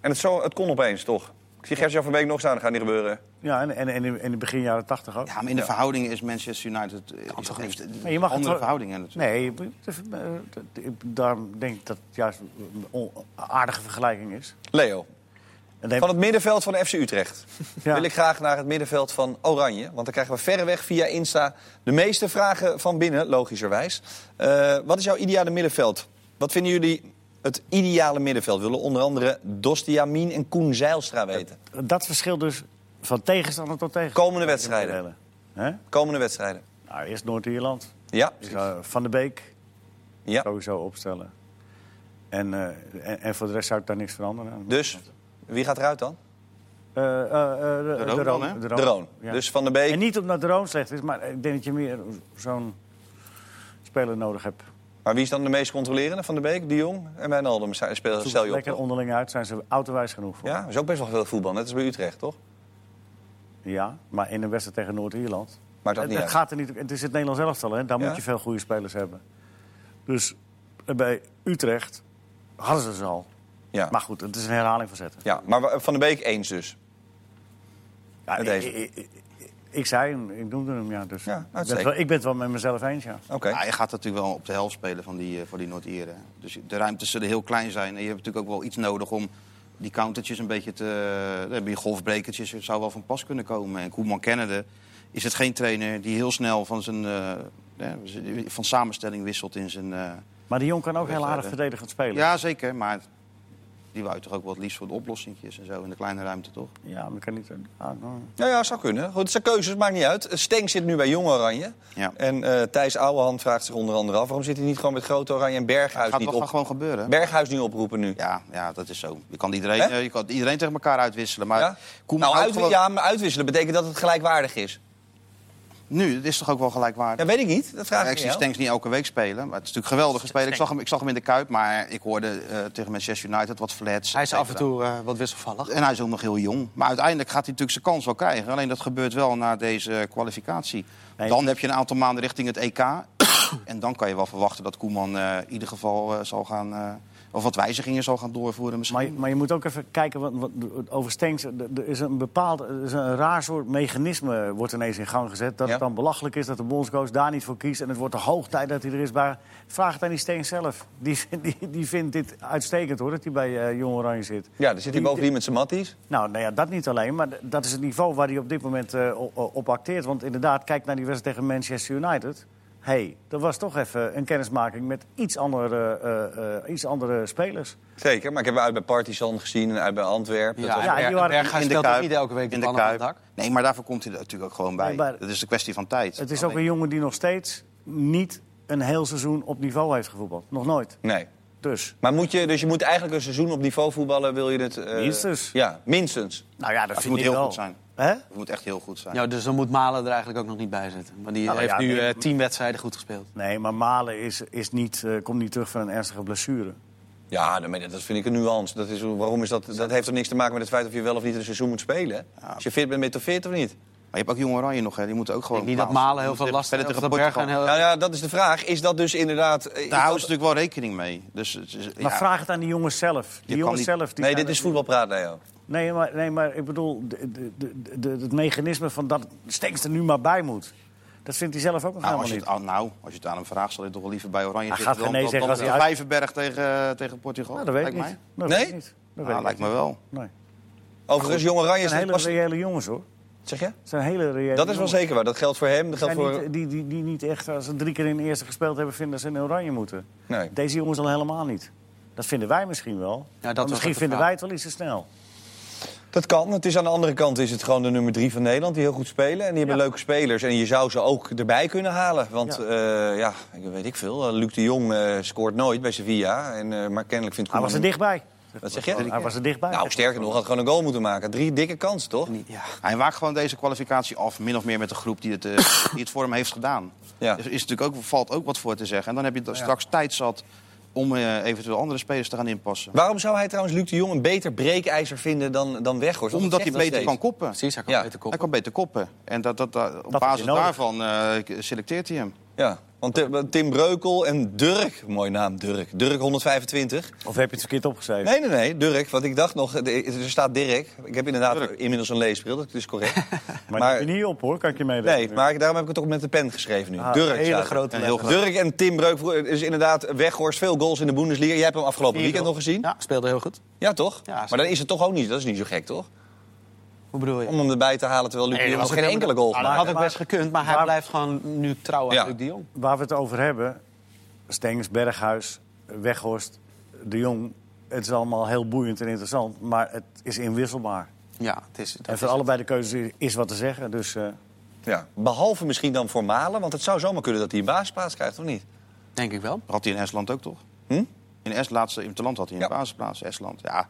Speaker 1: En het, zo, het kon opeens, toch? Ik zie Gert-Jan van Beek nog staan, dat gaat niet gebeuren.
Speaker 3: Ja, en, en, en in- in het begin jaren tachtig ook.
Speaker 2: Ja, maar in de verhoudingen is Manchester United... eh, heeft
Speaker 3: Maar je mag het
Speaker 2: andere
Speaker 3: wel-
Speaker 2: verhoudingen natuurlijk.
Speaker 3: Nee, je moet- eh, dat- ik- daarom denk ik dat het juist een on- aardige vergelijking is.
Speaker 1: Leo,
Speaker 3: En dan-
Speaker 1: van het middenveld van FC Utrecht
Speaker 3: Ja.
Speaker 1: wil ik graag naar het middenveld van Oranje. Want dan krijgen we verreweg via Insta de meeste vragen van binnen, logischerwijs. Eh, wat is jouw ideale middenveld? Wat vinden jullie het ideale middenveld? Willen onder andere Dostiamin en Koen Zeilstra weten.
Speaker 3: Dat verschilt dus van tegenstander tot tegenstander.
Speaker 1: Komende wedstrijden.
Speaker 3: Hè?
Speaker 1: Komende wedstrijden.
Speaker 3: Nou, eerst Noord-Ierland.
Speaker 1: Ja,
Speaker 3: Ik zou Van de Beek
Speaker 1: ja.
Speaker 3: sowieso opstellen. En, eh, en, en voor de rest zou ik daar niks veranderen. aan.
Speaker 1: Dus wie gaat eruit dan?
Speaker 3: Eh, eh, eh, de,
Speaker 2: Roon
Speaker 3: de
Speaker 2: dan,
Speaker 3: Roon.
Speaker 2: hè?
Speaker 1: De Roon.
Speaker 3: ja.
Speaker 1: Dus Van der Beek.
Speaker 3: En niet omdat de Roon slecht is, maar ik denk dat je meer zo'n speler nodig hebt.
Speaker 1: Maar wie is dan de meest controlerende? Van der Beek, De Jong en Wijnaldum. Stel stel je op.
Speaker 3: Lekker
Speaker 1: toch?
Speaker 3: onderling uit, zijn ze autowijs genoeg voor.
Speaker 1: Ja, dat is ook best wel veel voetbal. Net als bij Utrecht, toch?
Speaker 3: Ja, maar in een wedstrijd tegen Noord-Ierland.
Speaker 1: Maakt dat
Speaker 3: Het,
Speaker 1: niet
Speaker 3: het
Speaker 1: uit.
Speaker 3: gaat er niet. Het is het Nederlands elftal, hè? Daar
Speaker 1: Ja.
Speaker 3: moet je veel goede spelers hebben. Dus eh, bij Utrecht hadden ze ze al.
Speaker 1: Ja.
Speaker 3: Maar goed, het is een herhaling van zetten.
Speaker 1: ja, maar wa- Van der Beek eens dus.
Speaker 3: Ja,
Speaker 1: Met
Speaker 3: ik,
Speaker 1: deze.
Speaker 3: ik, ik- ik zei hem, ik noemde hem, ja. Dus
Speaker 1: Ja,
Speaker 3: ik, ben het
Speaker 1: uitstekend.
Speaker 3: wel, ik ben het wel met mezelf eens, ja.
Speaker 1: Oké.
Speaker 2: Ja, je gaat natuurlijk wel op de helft spelen van die, eh, voor die Noord-Ieren. Dus de ruimtes zullen heel klein zijn. En je hebt natuurlijk ook wel iets nodig om die countertjes een beetje te... Daar heb je golfbrekertjes, het zou wel van pas kunnen komen. En Koeman kennende is het geen trainer die heel snel van zijn... eh, ja, van samenstelling wisselt in zijn... eh,
Speaker 3: Maar de Jong kan ook heel
Speaker 2: Wedstrijden.
Speaker 3: aardig verdedigend spelen.
Speaker 2: Ja, zeker, maar die wou toch ook wel het liefst voor de oplossingjes en zo in de kleine ruimte, toch?
Speaker 3: Ja, maar kan niet... ah, nou,
Speaker 1: Nou ja, zou kunnen. Goed, het zijn keuzes, maakt niet uit. Stenk zit nu bij Jong Oranje.
Speaker 2: Ja.
Speaker 1: En eh Thijs Ouwehand vraagt zich onder andere af... waarom zit hij niet gewoon met Groot Oranje en Berghuis
Speaker 2: gaat
Speaker 1: niet
Speaker 2: wel
Speaker 1: op?
Speaker 2: gaat gewoon gebeuren.
Speaker 1: Berghuis nu oproepen nu.
Speaker 2: Ja, ja, dat is zo. Je kan, iedereen,
Speaker 1: Hè?
Speaker 2: eh, je kan iedereen tegen elkaar uitwisselen. Maar
Speaker 1: Ja?
Speaker 2: Koeman
Speaker 1: Nou,
Speaker 2: houdt
Speaker 1: uit-
Speaker 2: gewoon-
Speaker 1: ja, maar uitwisselen betekent dat het gelijkwaardig is.
Speaker 2: Nu, het is toch ook wel gelijkwaardig?
Speaker 1: Dat weet ik niet, dat vraag
Speaker 2: Ja, ik
Speaker 1: ik
Speaker 2: zie
Speaker 1: je.
Speaker 2: Stenks niet elke week spelen. Maar het is natuurlijk geweldig gespeeld. Ik zag, hem, ik zag hem in de Kuip, maar ik hoorde eh, tegen Manchester United wat flats.
Speaker 4: Hij is
Speaker 2: et
Speaker 4: af en
Speaker 2: cetera.
Speaker 4: toe eh, wat wisselvallig.
Speaker 2: En hij is ook nog heel jong. Maar uiteindelijk gaat hij natuurlijk zijn kans wel krijgen. Alleen dat gebeurt wel na deze eh, kwalificatie.
Speaker 3: Nee.
Speaker 2: Dan heb je een aantal maanden richting het EK. en dan kan je wel verwachten dat Koeman eh, in ieder geval eh, zal gaan... eh, of wat wijzigingen zal gaan doorvoeren misschien.
Speaker 3: Maar, je- maar je moet ook even kijken wat, wat, over Stenks. Er er is een bepaald, er is een raar soort mechanisme wordt ineens in gang gezet. Dat
Speaker 1: Ja.
Speaker 3: het dan belachelijk is dat de bondscoach daar niet voor kiest. En het wordt de hoog tijd dat hij er is. Maar vraag het aan die Stenks zelf. Die, vindt- die, die vindt dit uitstekend hoor, dat hij bij eh, Jong Oranje zit.
Speaker 1: Ja, dan zit hij
Speaker 3: Die-
Speaker 1: bovendien met zijn matties.
Speaker 3: Nou, nou ja, dat niet alleen, maar d- dat is het niveau waar hij op dit moment eh, o- o- op acteert. Want inderdaad, kijk naar die wedstrijd tegen Manchester United. hey, dat was toch even een kennismaking met iets andere, eh, eh, iets andere spelers.
Speaker 1: Zeker, maar ik heb hem uit bij Partizan gezien en uit bij Antwerpen. Dat was-
Speaker 3: ja, die waren
Speaker 4: Berghuis
Speaker 2: in de
Speaker 4: speelt ook
Speaker 2: Kuip,
Speaker 4: niet elke week de
Speaker 2: in de
Speaker 4: pannen van het
Speaker 2: Kuip.
Speaker 4: dak.
Speaker 2: Nee, maar daarvoor komt hij er natuurlijk ook gewoon bij.
Speaker 3: Nee, maar-
Speaker 2: dat is een kwestie van tijd.
Speaker 3: Het is ook een jongen die nog steeds niet een heel seizoen op niveau heeft gevoetbald. Nog nooit.
Speaker 1: Nee.
Speaker 3: Dus.
Speaker 1: Maar moet je, dus je moet eigenlijk een seizoen op niveau voetballen, wil je het... eh,
Speaker 3: Minstens.
Speaker 1: Ja, minstens.
Speaker 3: Nou ja, dat
Speaker 2: Het
Speaker 3: vind
Speaker 2: moet
Speaker 3: ik
Speaker 2: heel
Speaker 3: wel.
Speaker 2: goed zijn.
Speaker 3: Hè?
Speaker 2: Het moet echt heel goed zijn.
Speaker 4: Ja, dus dan moet Malen er eigenlijk ook nog niet bij zitten. Want die
Speaker 3: Nou,
Speaker 4: heeft
Speaker 3: ja,
Speaker 4: nu
Speaker 3: nee.
Speaker 4: eh, tien wedstrijden goed gespeeld.
Speaker 3: Nee, maar Malen is, is niet, eh, komt niet terug van een ernstige blessure.
Speaker 1: Ja, nee, maar dat vind ik een nuance. Dat, is, waarom is dat, dat heeft toch niks te maken met het feit of je wel of niet een seizoen moet spelen. Als je fit bent, ben je toch fit of niet?
Speaker 2: Maar je hebt ook Jong Oranje nog, hè. die moeten ook gewoon...
Speaker 4: Ik niet dat
Speaker 2: plaatsen.
Speaker 4: Malen heel
Speaker 2: Die
Speaker 4: veel
Speaker 2: moeten
Speaker 4: last heeft.
Speaker 2: verder
Speaker 4: of dat Berghuis
Speaker 2: tegen Portugal.
Speaker 3: Eh.
Speaker 4: heel...
Speaker 1: Nou ja, dat is de vraag. Is dat dus inderdaad... eh, is
Speaker 2: Daar houden
Speaker 1: dat-
Speaker 2: ze natuurlijk wel rekening mee. Dus, het is-
Speaker 3: Maar
Speaker 2: ja.
Speaker 3: vraag het aan die jongens zelf. Die
Speaker 2: kan
Speaker 3: jongens
Speaker 2: niet-
Speaker 3: zelf die
Speaker 1: nee,
Speaker 3: zijn
Speaker 1: dit is
Speaker 3: er-
Speaker 1: voetbalpraat, Leo.
Speaker 3: Nee maar, nee, maar ik bedoel, de, de, de, de- het mechanisme van dat Stenks er nu maar bij moet. Dat vindt hij zelf ook nog
Speaker 2: Nou
Speaker 3: helemaal
Speaker 2: als, je
Speaker 3: niet.
Speaker 2: het, aan- nou, als je het aan hem vraagt, zal hij toch wel liever bij Oranje
Speaker 3: Hij
Speaker 2: zitten...
Speaker 3: gaat
Speaker 2: dan,
Speaker 3: geen nee
Speaker 2: dan-
Speaker 3: zeggen
Speaker 2: dan
Speaker 3: als hij
Speaker 2: op
Speaker 3: uit-
Speaker 2: Vijverberg tegen, eh, tegen Portugal.
Speaker 3: Nou, dat weet ik
Speaker 2: lijkt
Speaker 3: niet.
Speaker 2: mij.
Speaker 3: Dat
Speaker 1: Nee?
Speaker 3: weet ik niet. Dat weet
Speaker 2: Ah,
Speaker 3: ik
Speaker 2: lijkt
Speaker 3: niet.
Speaker 2: me wel.
Speaker 3: Nee.
Speaker 1: Overigens, jonge Oranje
Speaker 3: Het
Speaker 1: is
Speaker 3: zijn
Speaker 1: niet
Speaker 3: hele
Speaker 1: pas...
Speaker 3: reële jongens, hoor.
Speaker 1: Zeg je?
Speaker 3: Het zijn hele reële
Speaker 1: Dat is wel
Speaker 3: jongens.
Speaker 1: zeker waar. Dat geldt voor hem, dat geldt
Speaker 3: Zijn
Speaker 1: voor...
Speaker 3: niet, die, die, die niet echt, als ze drie keer in de eerste gespeeld hebben, vinden dat ze in oranje moeten.
Speaker 1: Nee.
Speaker 3: Deze jongens al helemaal niet. Dat vinden wij misschien wel.
Speaker 4: dat
Speaker 3: Maar
Speaker 4: was
Speaker 3: misschien
Speaker 4: ook de
Speaker 3: vinden
Speaker 4: vraag.
Speaker 3: wij het wel iets te snel.
Speaker 1: Dat kan. Het is aan de andere kant is het gewoon de nummer drie van Nederland die heel goed spelen. En die hebben
Speaker 3: Ja.
Speaker 1: leuke spelers. En je zou ze ook erbij kunnen halen. Want
Speaker 3: Ja.
Speaker 1: ja, ja ik weet ik veel. Eh, Luc de Jong eh, scoort nooit bij Sevilla. En, eh, maar kennelijk vindt
Speaker 3: Hij was er
Speaker 1: Koeman-
Speaker 3: dichtbij.
Speaker 1: Wat zeg je?
Speaker 3: Hij was er dichtbij.
Speaker 1: Nou, sterker nog, had gewoon een goal moeten maken. Drie dikke kansen, toch?
Speaker 4: Ja.
Speaker 2: Hij waakt gewoon deze kwalificatie af, min of meer met de groep die het, eh, die het voor hem heeft gedaan.
Speaker 1: Ja.
Speaker 2: Dus is natuurlijk ook, valt ook wat voor te zeggen. En dan heb je da- straks tijd zat om eh, eventueel andere spelers te gaan inpassen.
Speaker 1: Waarom zou hij trouwens Luc de Jong een beter breekijzer vinden dan, dan Weghorst? Want
Speaker 2: Omdat hij
Speaker 1: dat
Speaker 2: beter
Speaker 1: zegt dat
Speaker 2: kan koppen.
Speaker 4: Precies, hij kan
Speaker 1: Ja.
Speaker 4: beter
Speaker 2: Hij
Speaker 4: koppen.
Speaker 2: kan beter koppen. En dat, dat, dat- op
Speaker 3: had hij
Speaker 2: basis
Speaker 3: nodig.
Speaker 2: daarvan eh, selecteert hij hem.
Speaker 1: steeds. Ja, want Tim- Tim Breukel en Durk, mooi naam Durk. Durk 125.
Speaker 3: Of heb je het verkeerd opgeschreven?
Speaker 1: Nee, nee, nee, Dirk. Want ik dacht nog, de- er staat Dirk. Ik heb inderdaad
Speaker 2: Dirk.
Speaker 1: inmiddels een leesbril, dat is correct.
Speaker 3: Maar,
Speaker 1: Maar-
Speaker 3: die heb je niet op, hoor. Kan ik je meedoen?
Speaker 1: Nee, maar ik- daarom heb ik het ook met de pen geschreven nu.
Speaker 3: Ah,
Speaker 1: Durk.
Speaker 3: hele
Speaker 1: staat er.
Speaker 3: grote
Speaker 1: Een
Speaker 3: letter.
Speaker 1: Durk en Tim Breuk. Het is inderdaad Weghorst, veel goals in de Bundesliga. Jij hebt hem afgelopen weekend nog gezien. Ja,
Speaker 4: Ja, speelde heel goed.
Speaker 1: toch?
Speaker 4: Ja, zeker.
Speaker 1: maar dan is het toch ook niet, dat is niet zo gek, toch?
Speaker 4: Hoe bedoel je?
Speaker 1: Om hem erbij te halen terwijl Luc
Speaker 4: Nee,
Speaker 1: de Jong
Speaker 4: dat
Speaker 1: nog
Speaker 4: was
Speaker 1: geen
Speaker 4: ook
Speaker 1: enkele goal
Speaker 4: Ah,
Speaker 1: gemaakt
Speaker 4: dat had ook
Speaker 3: Maar-
Speaker 4: best gekund, maar hij
Speaker 3: maar-
Speaker 4: blijft gewoon nu trouw aan
Speaker 1: Ja.
Speaker 4: Luc de Jong.
Speaker 3: Waar we het over hebben, Stengs, Berghuis, Weghorst, De Jong... Het is allemaal heel boeiend en interessant, maar het is inwisselbaar.
Speaker 4: Ja, het is, dat
Speaker 3: en voor
Speaker 4: is-
Speaker 3: allebei de keuzes is wat te zeggen. Dus, eh,
Speaker 1: Ja. Behalve misschien dan voor Malen, want het zou zomaar kunnen dat hij een basisplaats krijgt, of niet?
Speaker 4: denk ik wel.
Speaker 2: Dat had hij in Estland ook toch?
Speaker 1: Hm?
Speaker 2: In Estland, laatste in het land had hij in
Speaker 1: Ja.
Speaker 2: de basisplaats. Estland, ja.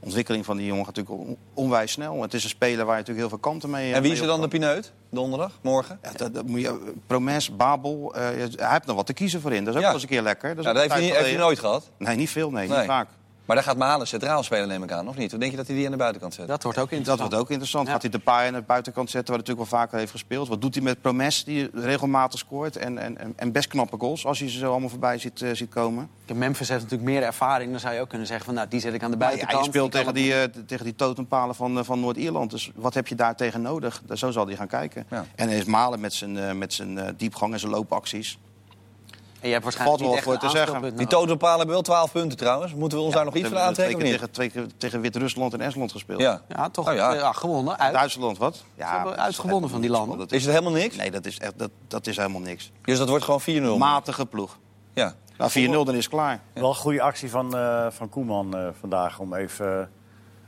Speaker 2: De ontwikkeling van die jongen gaat natuurlijk on- onwijs snel. Het is een speler waar je natuurlijk heel veel kanten mee eh,
Speaker 1: En wie is
Speaker 2: mee
Speaker 1: er dan
Speaker 2: op
Speaker 1: de
Speaker 2: kan.
Speaker 1: pineut? Donderdag, morgen?
Speaker 2: Ja, dat, dat moet je, Promes, Babel, eh, je- hij heeft nog wat te kiezen voor in. Dat is ook
Speaker 1: Ja.
Speaker 2: wel eens een keer lekker.
Speaker 1: Nou,
Speaker 2: is
Speaker 1: dat
Speaker 2: ook
Speaker 1: heeft hij,
Speaker 2: een
Speaker 1: niet-
Speaker 2: tijd
Speaker 1: heeft hij
Speaker 2: geleden.
Speaker 1: nooit gehad.
Speaker 2: Nee, niet veel, nee,
Speaker 1: Nee.
Speaker 2: niet vaak.
Speaker 1: Maar daar gaat Malen centraal spelen, neem ik aan, of niet? Of denk je dat hij die aan de buitenkant zet?
Speaker 4: Dat wordt ook
Speaker 2: Dat
Speaker 4: interessant.
Speaker 2: wordt ook interessant.
Speaker 4: Ja.
Speaker 2: Gaat hij de paai aan de buitenkant zetten, waar hij natuurlijk wel vaker heeft gespeeld. Wat doet hij met Promes, die regelmatig scoort en, en, en- en best knappe goals... als je ze zo allemaal voorbij ziet, eh, ziet komen.
Speaker 4: Kijk, Memphis heeft natuurlijk meer ervaring. Dan zou je ook kunnen zeggen van, nou, die zet ik aan de
Speaker 2: Maar ja,
Speaker 4: buitenkant.
Speaker 2: je speelt
Speaker 4: kan
Speaker 2: tegen
Speaker 4: het-
Speaker 2: die, eh, tegen die totempalen van, eh, van Noord-Ierland. Dus wat heb je daar tegen nodig? Daar- Zo zal hij gaan kijken.
Speaker 1: Ja.
Speaker 2: En hij is Malen met zijn, eh, met zijn eh, diepgang en zijn loopacties.
Speaker 4: En je hebt
Speaker 2: valt
Speaker 4: waarschijnlijk
Speaker 2: wel
Speaker 4: niet echt
Speaker 2: voor
Speaker 4: een
Speaker 2: te zeggen.
Speaker 4: aanspeelpunt
Speaker 1: Die
Speaker 4: nodig.
Speaker 1: totempalen hebben wel 12 punten trouwens. Moeten we ons daar nog iets van
Speaker 2: nou. Hebben we
Speaker 1: aantrekken? of
Speaker 2: Twee
Speaker 1: niet?
Speaker 2: keer tegen, twee keer tegen Wit-Rusland en Estland gespeeld.
Speaker 1: Ja.
Speaker 4: Ja, toch
Speaker 1: Nou ja.
Speaker 4: eh, ja, gewonnen. Uit.
Speaker 2: Duitsland, wat? Ja,
Speaker 4: hebben
Speaker 2: dat is
Speaker 4: uitgewonnen
Speaker 2: echt-
Speaker 4: van die landen.
Speaker 2: dat is-
Speaker 1: Is het helemaal niks?
Speaker 2: nee, dat is, echt, dat, dat is helemaal niks.
Speaker 1: Dus dat wordt gewoon 4-0.
Speaker 2: Matige ploeg.
Speaker 1: Ja.
Speaker 2: Nou, 4-0, dan is het klaar.
Speaker 3: Wel een goede actie van, eh, van Koeman eh, vandaag om even eh,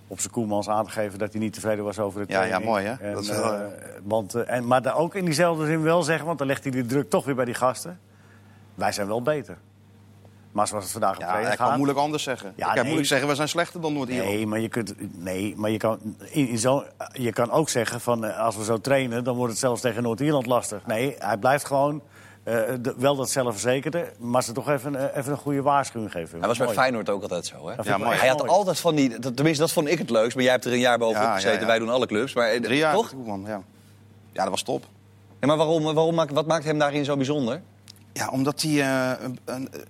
Speaker 3: op zijn Koemans aan te geven dat hij niet tevreden was over het
Speaker 2: Ja, ja, mooi, hè?
Speaker 3: En,
Speaker 2: Dat is wel,
Speaker 3: eh, want, eh, en, maar daar ook in diezelfde zin wel zeggen, want dan legt hij de druk toch weer bij die gasten. Wij zijn wel beter. Maar zoals het vandaag op
Speaker 2: Ja,
Speaker 3: training
Speaker 2: hij kan
Speaker 3: gaat-
Speaker 2: moeilijk anders zeggen.
Speaker 3: Ja,
Speaker 2: hij kan
Speaker 3: nee.
Speaker 2: moeilijk zeggen, we zijn slechter dan Noord-Ierland.
Speaker 3: Nee, maar je kunt, nee, maar je kan, in, in zo, je kan ook zeggen van eh, als we zo trainen, dan wordt het zelfs tegen Noord-Ierland lastig. Nee, hij blijft gewoon eh, de- wel dat zelfverzekerde, maar ze toch even, eh, even een goede waarschuwing geven.
Speaker 1: Hij was bij
Speaker 3: Mooi.
Speaker 1: Feyenoord ook altijd zo, hè?
Speaker 3: Dat vind ik
Speaker 2: Ja,
Speaker 3: wel
Speaker 2: mooi.
Speaker 3: echt
Speaker 1: Hij had
Speaker 3: mooi.
Speaker 1: altijd van die... dat- Tenminste, dat vond ik het leukst. Maar jij hebt er een jaar bovenop
Speaker 2: Ja, ja,
Speaker 1: gezeten.
Speaker 2: ja.
Speaker 1: Wij doen alle clubs. Maar, eh,
Speaker 2: Drie jaar,
Speaker 1: Toch?
Speaker 2: toch? ja. ja, dat was top.
Speaker 1: Ja, maar waarom, waarom, maakt- wat maakt hem daarin zo bijzonder?
Speaker 2: Ja, omdat hij eh, een, een, eh,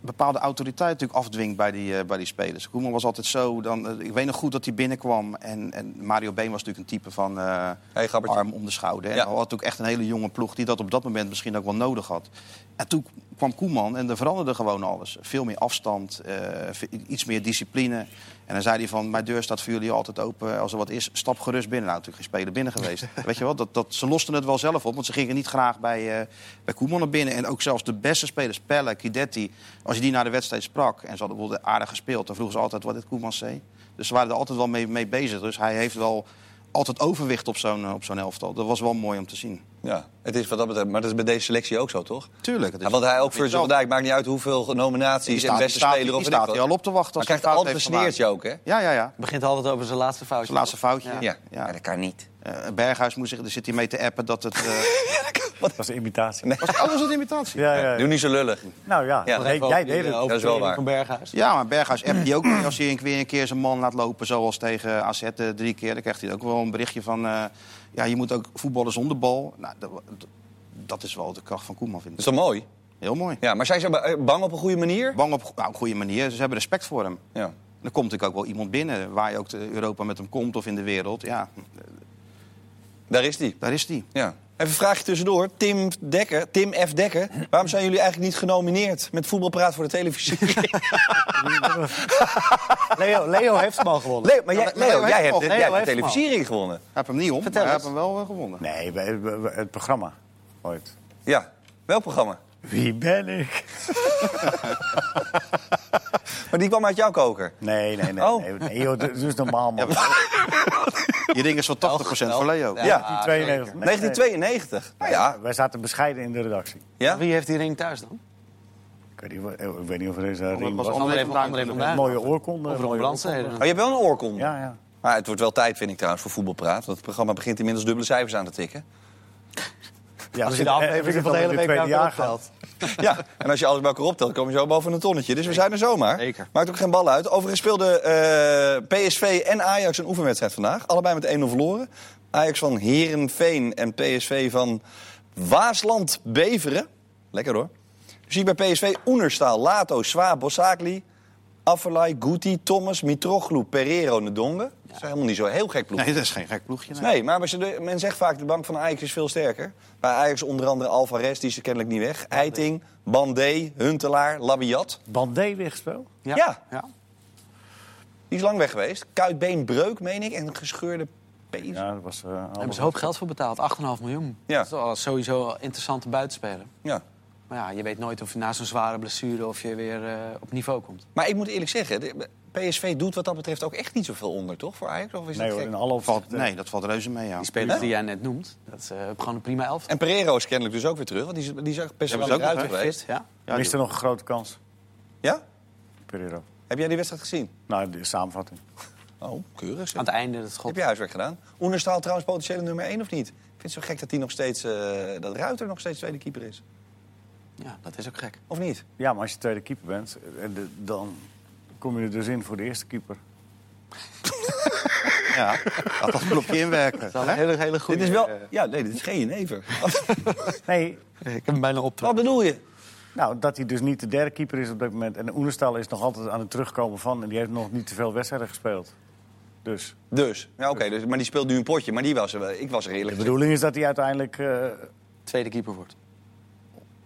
Speaker 2: bepaalde autoriteit natuurlijk afdwingt bij die, eh, bij die spelers. Koeman was altijd zo. Dan, eh, ik weet nog goed dat hij binnenkwam. En, en Mario Been was natuurlijk een type van eh,
Speaker 1: Hey, gabbertje.
Speaker 2: arm om de schouder. En
Speaker 1: Ja.
Speaker 2: hij had natuurlijk echt een hele jonge ploeg die dat op dat moment misschien ook wel nodig had. En toen kwam Koeman en er veranderde gewoon alles. Veel meer afstand, eh, ve- iets meer discipline. En dan zei hij van, mijn deur staat voor jullie altijd open. Als er wat is, stap gerust binnen. Nou, natuurlijk geen speler binnen geweest. Weet je wel, dat, dat, ze losten het wel zelf op. Want ze gingen niet graag bij, eh, bij Koeman naar binnen. En ook zelfs de beste spelers, Pelle, Kidetti... als je die naar de wedstrijd sprak en ze hadden bijvoorbeeld aardig gespeeld... dan vroegen ze altijd wat dit Koeman zei. Dus ze waren er altijd wel mee, mee bezig. Dus hij heeft wel altijd overwicht op zo'n eh, op zo'n elftal. Dat was wel mooi om te zien.
Speaker 1: Ja, het is wat dat betreft, maar dat is bij deze selectie ook zo, toch?
Speaker 2: Tuurlijk. het is-
Speaker 1: Ja, want hij ook
Speaker 2: Weet je
Speaker 1: Virgil
Speaker 2: wel,
Speaker 1: van Dijk maakt niet uit hoeveel
Speaker 2: die
Speaker 1: nominaties
Speaker 2: staat-
Speaker 1: en
Speaker 2: die
Speaker 1: beste
Speaker 2: staat-
Speaker 1: speler of
Speaker 2: die
Speaker 1: weet ik
Speaker 2: staat
Speaker 1: wat.
Speaker 2: hier al op te wachten.
Speaker 1: Maar
Speaker 2: als
Speaker 1: krijgt
Speaker 2: hij
Speaker 1: altijd een
Speaker 2: fout heeft
Speaker 1: sneertje ook, hè?
Speaker 2: gemaakt. Ja, ja, ja.
Speaker 4: begint altijd over zijn laatste foutje.
Speaker 2: Het laatste foutje.
Speaker 4: Ja.
Speaker 1: Ja,
Speaker 2: Ja.
Speaker 1: Maar dat kan niet.
Speaker 2: Eh, Berghuis moest zich, er zit hij mee te appen dat het... eh,
Speaker 3: Dat was een imitatie.
Speaker 2: was, oh, was het imitatie?
Speaker 3: Ja, ja.
Speaker 1: Doe niet zo lullig.
Speaker 3: Nou ja,
Speaker 1: Ja, dat
Speaker 3: nee, jij deed het.
Speaker 1: Dat is wel waar.
Speaker 4: Van Berghuis.
Speaker 2: Ja, maar Berghuis appt die ook niet. Als hij een- weer een keer zijn man laat lopen, zoals tegen AZ eh, drie keer... dan krijgt hij ook wel een berichtje van... eh, ja, je moet ook voetballen zonder bal. Nou, dat, dat is wel de kracht van Koeman, vind
Speaker 1: Dat is
Speaker 2: ik.
Speaker 1: toch mooi?
Speaker 2: Heel mooi.
Speaker 1: Ja, maar zijn ze ba- bang op een goede manier?
Speaker 2: Bang op nou, een goede manier. Ze hebben respect voor hem.
Speaker 1: Ja.
Speaker 2: Dan komt natuurlijk ook wel iemand binnen. Waar je ook te Europa met hem komt of in de wereld. Ja,
Speaker 1: Daar is die.
Speaker 2: daar is hij.
Speaker 1: Ja. Even een vraagje tussendoor. Tim, Dekker, Tim F. Dekker, waarom zijn jullie eigenlijk niet genomineerd met voetbalpraat voor de televisie?
Speaker 3: Leo, Leo heeft hem al gewonnen.
Speaker 1: Leo, maar jij,
Speaker 2: Leo
Speaker 1: Leo,
Speaker 2: heeft
Speaker 1: jij
Speaker 2: hem
Speaker 1: hebt, jij
Speaker 3: Leo
Speaker 2: al.
Speaker 1: hebt de
Speaker 3: heeft hem al.
Speaker 1: televisiering gewonnen.
Speaker 2: Hij heeft hem niet om, maar hij heeft hem wel eh, gewonnen.
Speaker 3: Nee, we- we- we- het programma ooit.
Speaker 1: Ja, welk programma?
Speaker 3: Wie ben ik?
Speaker 1: Maar die kwam uit jouw koker.
Speaker 3: Nee, nee, nee.
Speaker 1: Oh.
Speaker 3: nee, nee, joh, dat is dus normaal, man.
Speaker 2: Je ding is wel 80% voor Leo.
Speaker 1: Ja,
Speaker 4: Ah,
Speaker 3: 92. Nee,
Speaker 1: 1992. Nou ja,
Speaker 3: nee. Wij zaten bescheiden in de redactie.
Speaker 1: ja.
Speaker 4: Wie heeft die ring thuis dan?
Speaker 3: Ik weet niet, wat- ik weet niet of er eens een ring
Speaker 2: was
Speaker 3: was.
Speaker 2: André
Speaker 4: André
Speaker 2: van
Speaker 4: van, André van Duin.
Speaker 3: Mooie oorkonde.
Speaker 4: Of Ron
Speaker 3: mooie
Speaker 4: Brandstede.
Speaker 1: Oh, je hebt wel een oorkonde.
Speaker 3: Ja, ja.
Speaker 1: Maar het wordt wel tijd, vind ik trouwens, voor voetbalpraat. Want het programma begint inmiddels dubbele cijfers aan te tikken.
Speaker 3: ja
Speaker 4: Als je
Speaker 3: we
Speaker 4: de
Speaker 3: zitten- eh, we
Speaker 4: aflevering
Speaker 3: zitten
Speaker 4: van de
Speaker 3: al in
Speaker 4: hele
Speaker 3: het
Speaker 4: week
Speaker 3: tweede
Speaker 4: naar
Speaker 3: jaar
Speaker 4: telt.
Speaker 1: Ja, en als je alles bij elkaar optelt, kom je zo boven een tonnetje. Dus we zijn er zomaar.
Speaker 4: Zeker.
Speaker 1: Maakt ook geen bal uit. Overigens speelden eh, PSV en Ajax een oefenwedstrijd vandaag. Allebei met 1-0 verloren. Ajax van Herenveen en PSV van Waasland-Beveren. Lekker hoor. Zie ik bij PSV Oenerstaal, Lato, Swaap, Bossakli... Affelay, Guti, Thomas, Mitroglou, Pereiro, Ndongen. Dat is helemaal niet zo heel gek ploeg.
Speaker 2: Nee, dat is geen gek ploegje. nee.
Speaker 1: Nee, maar als je de- men zegt vaak de bank van Ajax is veel sterker. Bij Ajax onder andere Alvarez, die is er kennelijk niet weg. Eiting, Bandé, Huntelaar, Labiat.
Speaker 3: Bandé wegspeeld.
Speaker 1: Ja.
Speaker 4: ja.
Speaker 1: Die is lang weg geweest. Kuitbeenbreuk, meen ik, en een gescheurde pees. Ja.
Speaker 3: Ja, dat was... eh,
Speaker 4: Daar
Speaker 3: allemaal-
Speaker 4: hebben ze een hoop geld voor betaald. 8,5 miljoen.
Speaker 1: Ja.
Speaker 4: Dat is al sowieso een interessante buitenspeler. Maar ja, je weet nooit of je na zo'n zware blessure of je weer eh, op niveau komt.
Speaker 1: Maar ik moet eerlijk zeggen, de- PSV doet wat dat betreft ook echt niet zoveel onder, toch? Voor Ajax? Of is
Speaker 3: Nee
Speaker 1: dat
Speaker 3: hoor,
Speaker 1: gek?
Speaker 3: in alle
Speaker 2: Valt,
Speaker 3: opzichten-
Speaker 2: nee, dat valt reuze mee, ja.
Speaker 4: Die spelers die jij net noemt, dat is eh, gewoon een prima elftal.
Speaker 1: En Pereiro is kennelijk dus ook weer terug, want die is, die is ook best
Speaker 2: Ja,
Speaker 1: wel
Speaker 2: maar is ook
Speaker 1: uit
Speaker 2: nog, hè?
Speaker 1: geweest.
Speaker 4: Fit, ja.
Speaker 2: Ja,
Speaker 3: miste
Speaker 2: die-
Speaker 3: nog een grote kans,
Speaker 1: Ja?
Speaker 3: Pereiro.
Speaker 1: Heb jij die wedstrijd gezien?
Speaker 3: Nou, de samenvatting.
Speaker 1: Oh, keurig. zeg.
Speaker 4: Aan het einde dat schot.
Speaker 1: Heb je huiswerk gedaan? Oenerstaal trouwens potentiële nummer 1 of niet? Ik vind het zo gek dat, die nog steeds, eh, dat Ruiter nog steeds tweede keeper is.
Speaker 4: Ja, dat is ook gek.
Speaker 1: Of niet?
Speaker 3: Ja, maar als je tweede keeper bent, eh, de- dan kom je er dus in voor de eerste keeper.
Speaker 2: ja. Laat dat knopje inwerken.
Speaker 4: Dat is een hele, hele goede...
Speaker 1: dit is wel... Ja, nee, dit is geen jenever.
Speaker 3: Nee,
Speaker 4: eh, Ik heb hem bijna op.
Speaker 1: Wat bedoel je?
Speaker 3: nou, dat hij dus niet de derde keeper is op dit moment. En Oenestal is nog altijd aan het terugkomen van. En die heeft nog niet te veel wedstrijden gespeeld. Dus
Speaker 1: Dus, ja, oké, dus, maar die speelt nu een potje. Maar die was er wel. Ik was er
Speaker 3: de
Speaker 1: eerlijk gezegd.
Speaker 3: bedoeling is dat hij uiteindelijk... eh,
Speaker 4: Tweede keeper wordt.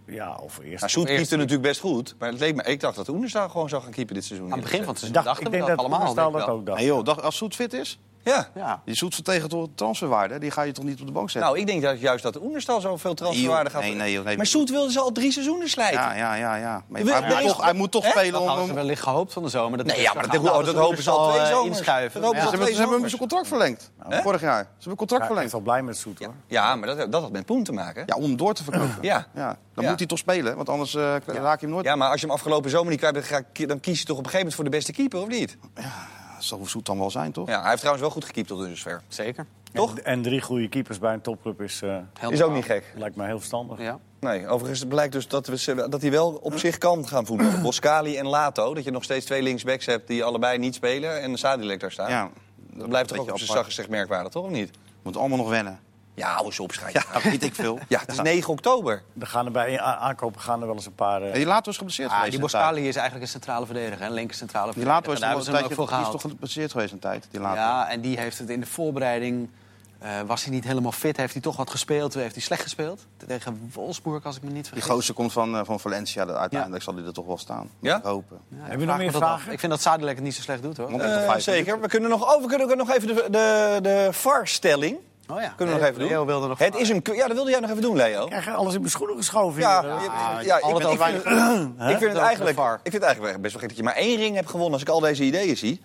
Speaker 3: ja, of eerst.
Speaker 1: Nou, Soet
Speaker 4: Eerst-
Speaker 1: keepte natuurlijk best goed. Maar het leek me, ik dacht dat Oenerstal gewoon zou gaan keepen dit seizoen.
Speaker 4: Aan het begin van het
Speaker 3: Ik
Speaker 4: seizoen
Speaker 3: dacht-
Speaker 4: dachten
Speaker 3: ik
Speaker 4: we
Speaker 3: denk
Speaker 4: dat
Speaker 3: dat
Speaker 4: allemaal.
Speaker 3: Oenestal
Speaker 4: denk
Speaker 3: dat
Speaker 4: ik
Speaker 3: ook dacht.
Speaker 2: Nee, joh, dag- als Soet fit is,
Speaker 1: Ja.
Speaker 4: wel. Ja.
Speaker 2: die Soet vertegen tot transferwaarde, die ga je toch niet op de bank zetten?
Speaker 1: Nou, ik denk dat juist dat Oenerstal zoveel transferwaarde
Speaker 2: Nee,
Speaker 1: gaat...
Speaker 2: joh. Nee, nee, joh, nee.
Speaker 1: Maar Soet wilde ze al drie seizoenen slijten.
Speaker 2: ja, ja, ja, ja. Maar
Speaker 1: Wil-
Speaker 2: hij, moet
Speaker 1: er is-
Speaker 2: toch, hij moet toch
Speaker 1: Hè?
Speaker 2: spelen
Speaker 4: Dat hadden
Speaker 2: om...
Speaker 4: ze
Speaker 2: om-
Speaker 4: wellicht gehoopt van de zomer. Dat
Speaker 1: Nee, ja, maar dat, oh,
Speaker 4: Nou,
Speaker 1: dat, hopen ze al twee
Speaker 4: eh,
Speaker 1: zomers.
Speaker 4: inschuiven.
Speaker 1: Dat hopen
Speaker 4: Ja.
Speaker 1: ze
Speaker 2: Ze
Speaker 1: al
Speaker 2: hebben,
Speaker 1: twee
Speaker 2: ze hebben hem
Speaker 1: zomers.
Speaker 2: zijn contract verlengd, vorig jaar. Ze hebben een contract
Speaker 3: Ja, ik ben
Speaker 2: verlengd.
Speaker 3: wel blij met Soet, hoor.
Speaker 1: Ja, maar dat, dat had met Poen te maken.
Speaker 2: Ja, om door te verkopen.
Speaker 1: Ja.
Speaker 2: ja. Dan
Speaker 1: Ja.
Speaker 2: moet hij toch spelen, want anders eh, raak je hem nooit.
Speaker 1: Ja, maar als je hem afgelopen zomer niet kwijt bent geraakt, dan kies je toch op een gegeven moment voor de beste keeper, of niet?
Speaker 2: Dat zal Soet dan wel zijn, toch?
Speaker 1: Ja, hij heeft trouwens wel goed gekiept tot dusver.
Speaker 4: Zeker.
Speaker 1: Toch?
Speaker 3: En, en drie goede keepers bij een topclub is, eh,
Speaker 4: Heel
Speaker 1: Is ook niet gek.
Speaker 3: lijkt mij heel verstandig.
Speaker 4: Ja.
Speaker 1: Nee, overigens blijkt dus dat, we, ze- dat hij wel op zich kan gaan voelen. Boskali en Lato, dat je nog steeds twee linksbacks hebt die allebei niet spelen en Sadilek daar staan.
Speaker 2: Ja.
Speaker 1: Dat blijft toch
Speaker 2: Beetje
Speaker 1: ook op zijn
Speaker 2: apart.
Speaker 1: zachtst gezegd merkwaardig, toch of niet?
Speaker 2: Moet allemaal nog wennen.
Speaker 1: Ja, hou eens op, schijt.
Speaker 2: Ja,
Speaker 1: Ja.
Speaker 2: dat weet ik veel.
Speaker 1: het is 9 oktober.
Speaker 3: Er gaan er bij a- aankopen gaan er wel eens een paar... eh,
Speaker 2: En die Lato is geblesseerd
Speaker 4: Ah,
Speaker 2: geweest.
Speaker 4: die
Speaker 2: een tijd.
Speaker 4: Boskali is eigenlijk een centrale verdediger, een linker centrale
Speaker 2: Die
Speaker 4: verdediger.
Speaker 2: Lato is,
Speaker 4: Daar
Speaker 2: toch wel
Speaker 4: hebben
Speaker 2: een
Speaker 4: ze hem ook
Speaker 2: tijdje,
Speaker 4: voor gehaald.
Speaker 2: die is toch geblesseerd geweest een tijd, die Lato.
Speaker 4: Ja, en die heeft het in de voorbereiding Eh, was hij niet helemaal fit? Heeft hij toch wat gespeeld? eh, Heeft hij slecht gespeeld? Tegen Wolfsburg, als ik me niet
Speaker 2: Die
Speaker 4: vergis.
Speaker 2: gozer komt van, eh, van Valencia. Uiteindelijk zal hij er toch wel staan.
Speaker 1: Ja?
Speaker 2: Ik hopen.
Speaker 4: Ja, ik
Speaker 3: Heb je
Speaker 4: vraag
Speaker 3: nog
Speaker 4: me
Speaker 3: meer
Speaker 4: dat af.
Speaker 3: vragen?
Speaker 4: Ik vind dat Zadelijk het niet zo slecht doet, hoor.
Speaker 2: Mond-
Speaker 4: Oh
Speaker 1: Eh, zeker. We kunnen nog, oh, we kunnen ook nog even de, de, de VAR-stelling.
Speaker 4: Oh ja.
Speaker 1: Kunnen we nog even doen?
Speaker 4: Leo wilde nog
Speaker 1: het is een, ku- ja, dat wilde jij nog even doen, Leo.
Speaker 3: Ik krijg alles in mijn schoenen geschoven.
Speaker 1: Ja,
Speaker 3: hier.
Speaker 1: ja, ja, ik,
Speaker 4: altijd
Speaker 1: ben- ik,
Speaker 4: over
Speaker 1: vind, ik, vind
Speaker 4: Over
Speaker 1: het
Speaker 4: de
Speaker 1: eigenlijk,
Speaker 4: VAR.
Speaker 1: ik vind het eigenlijk best wel gek dat je maar één ring hebt gewonnen als ik al deze ideeën zie.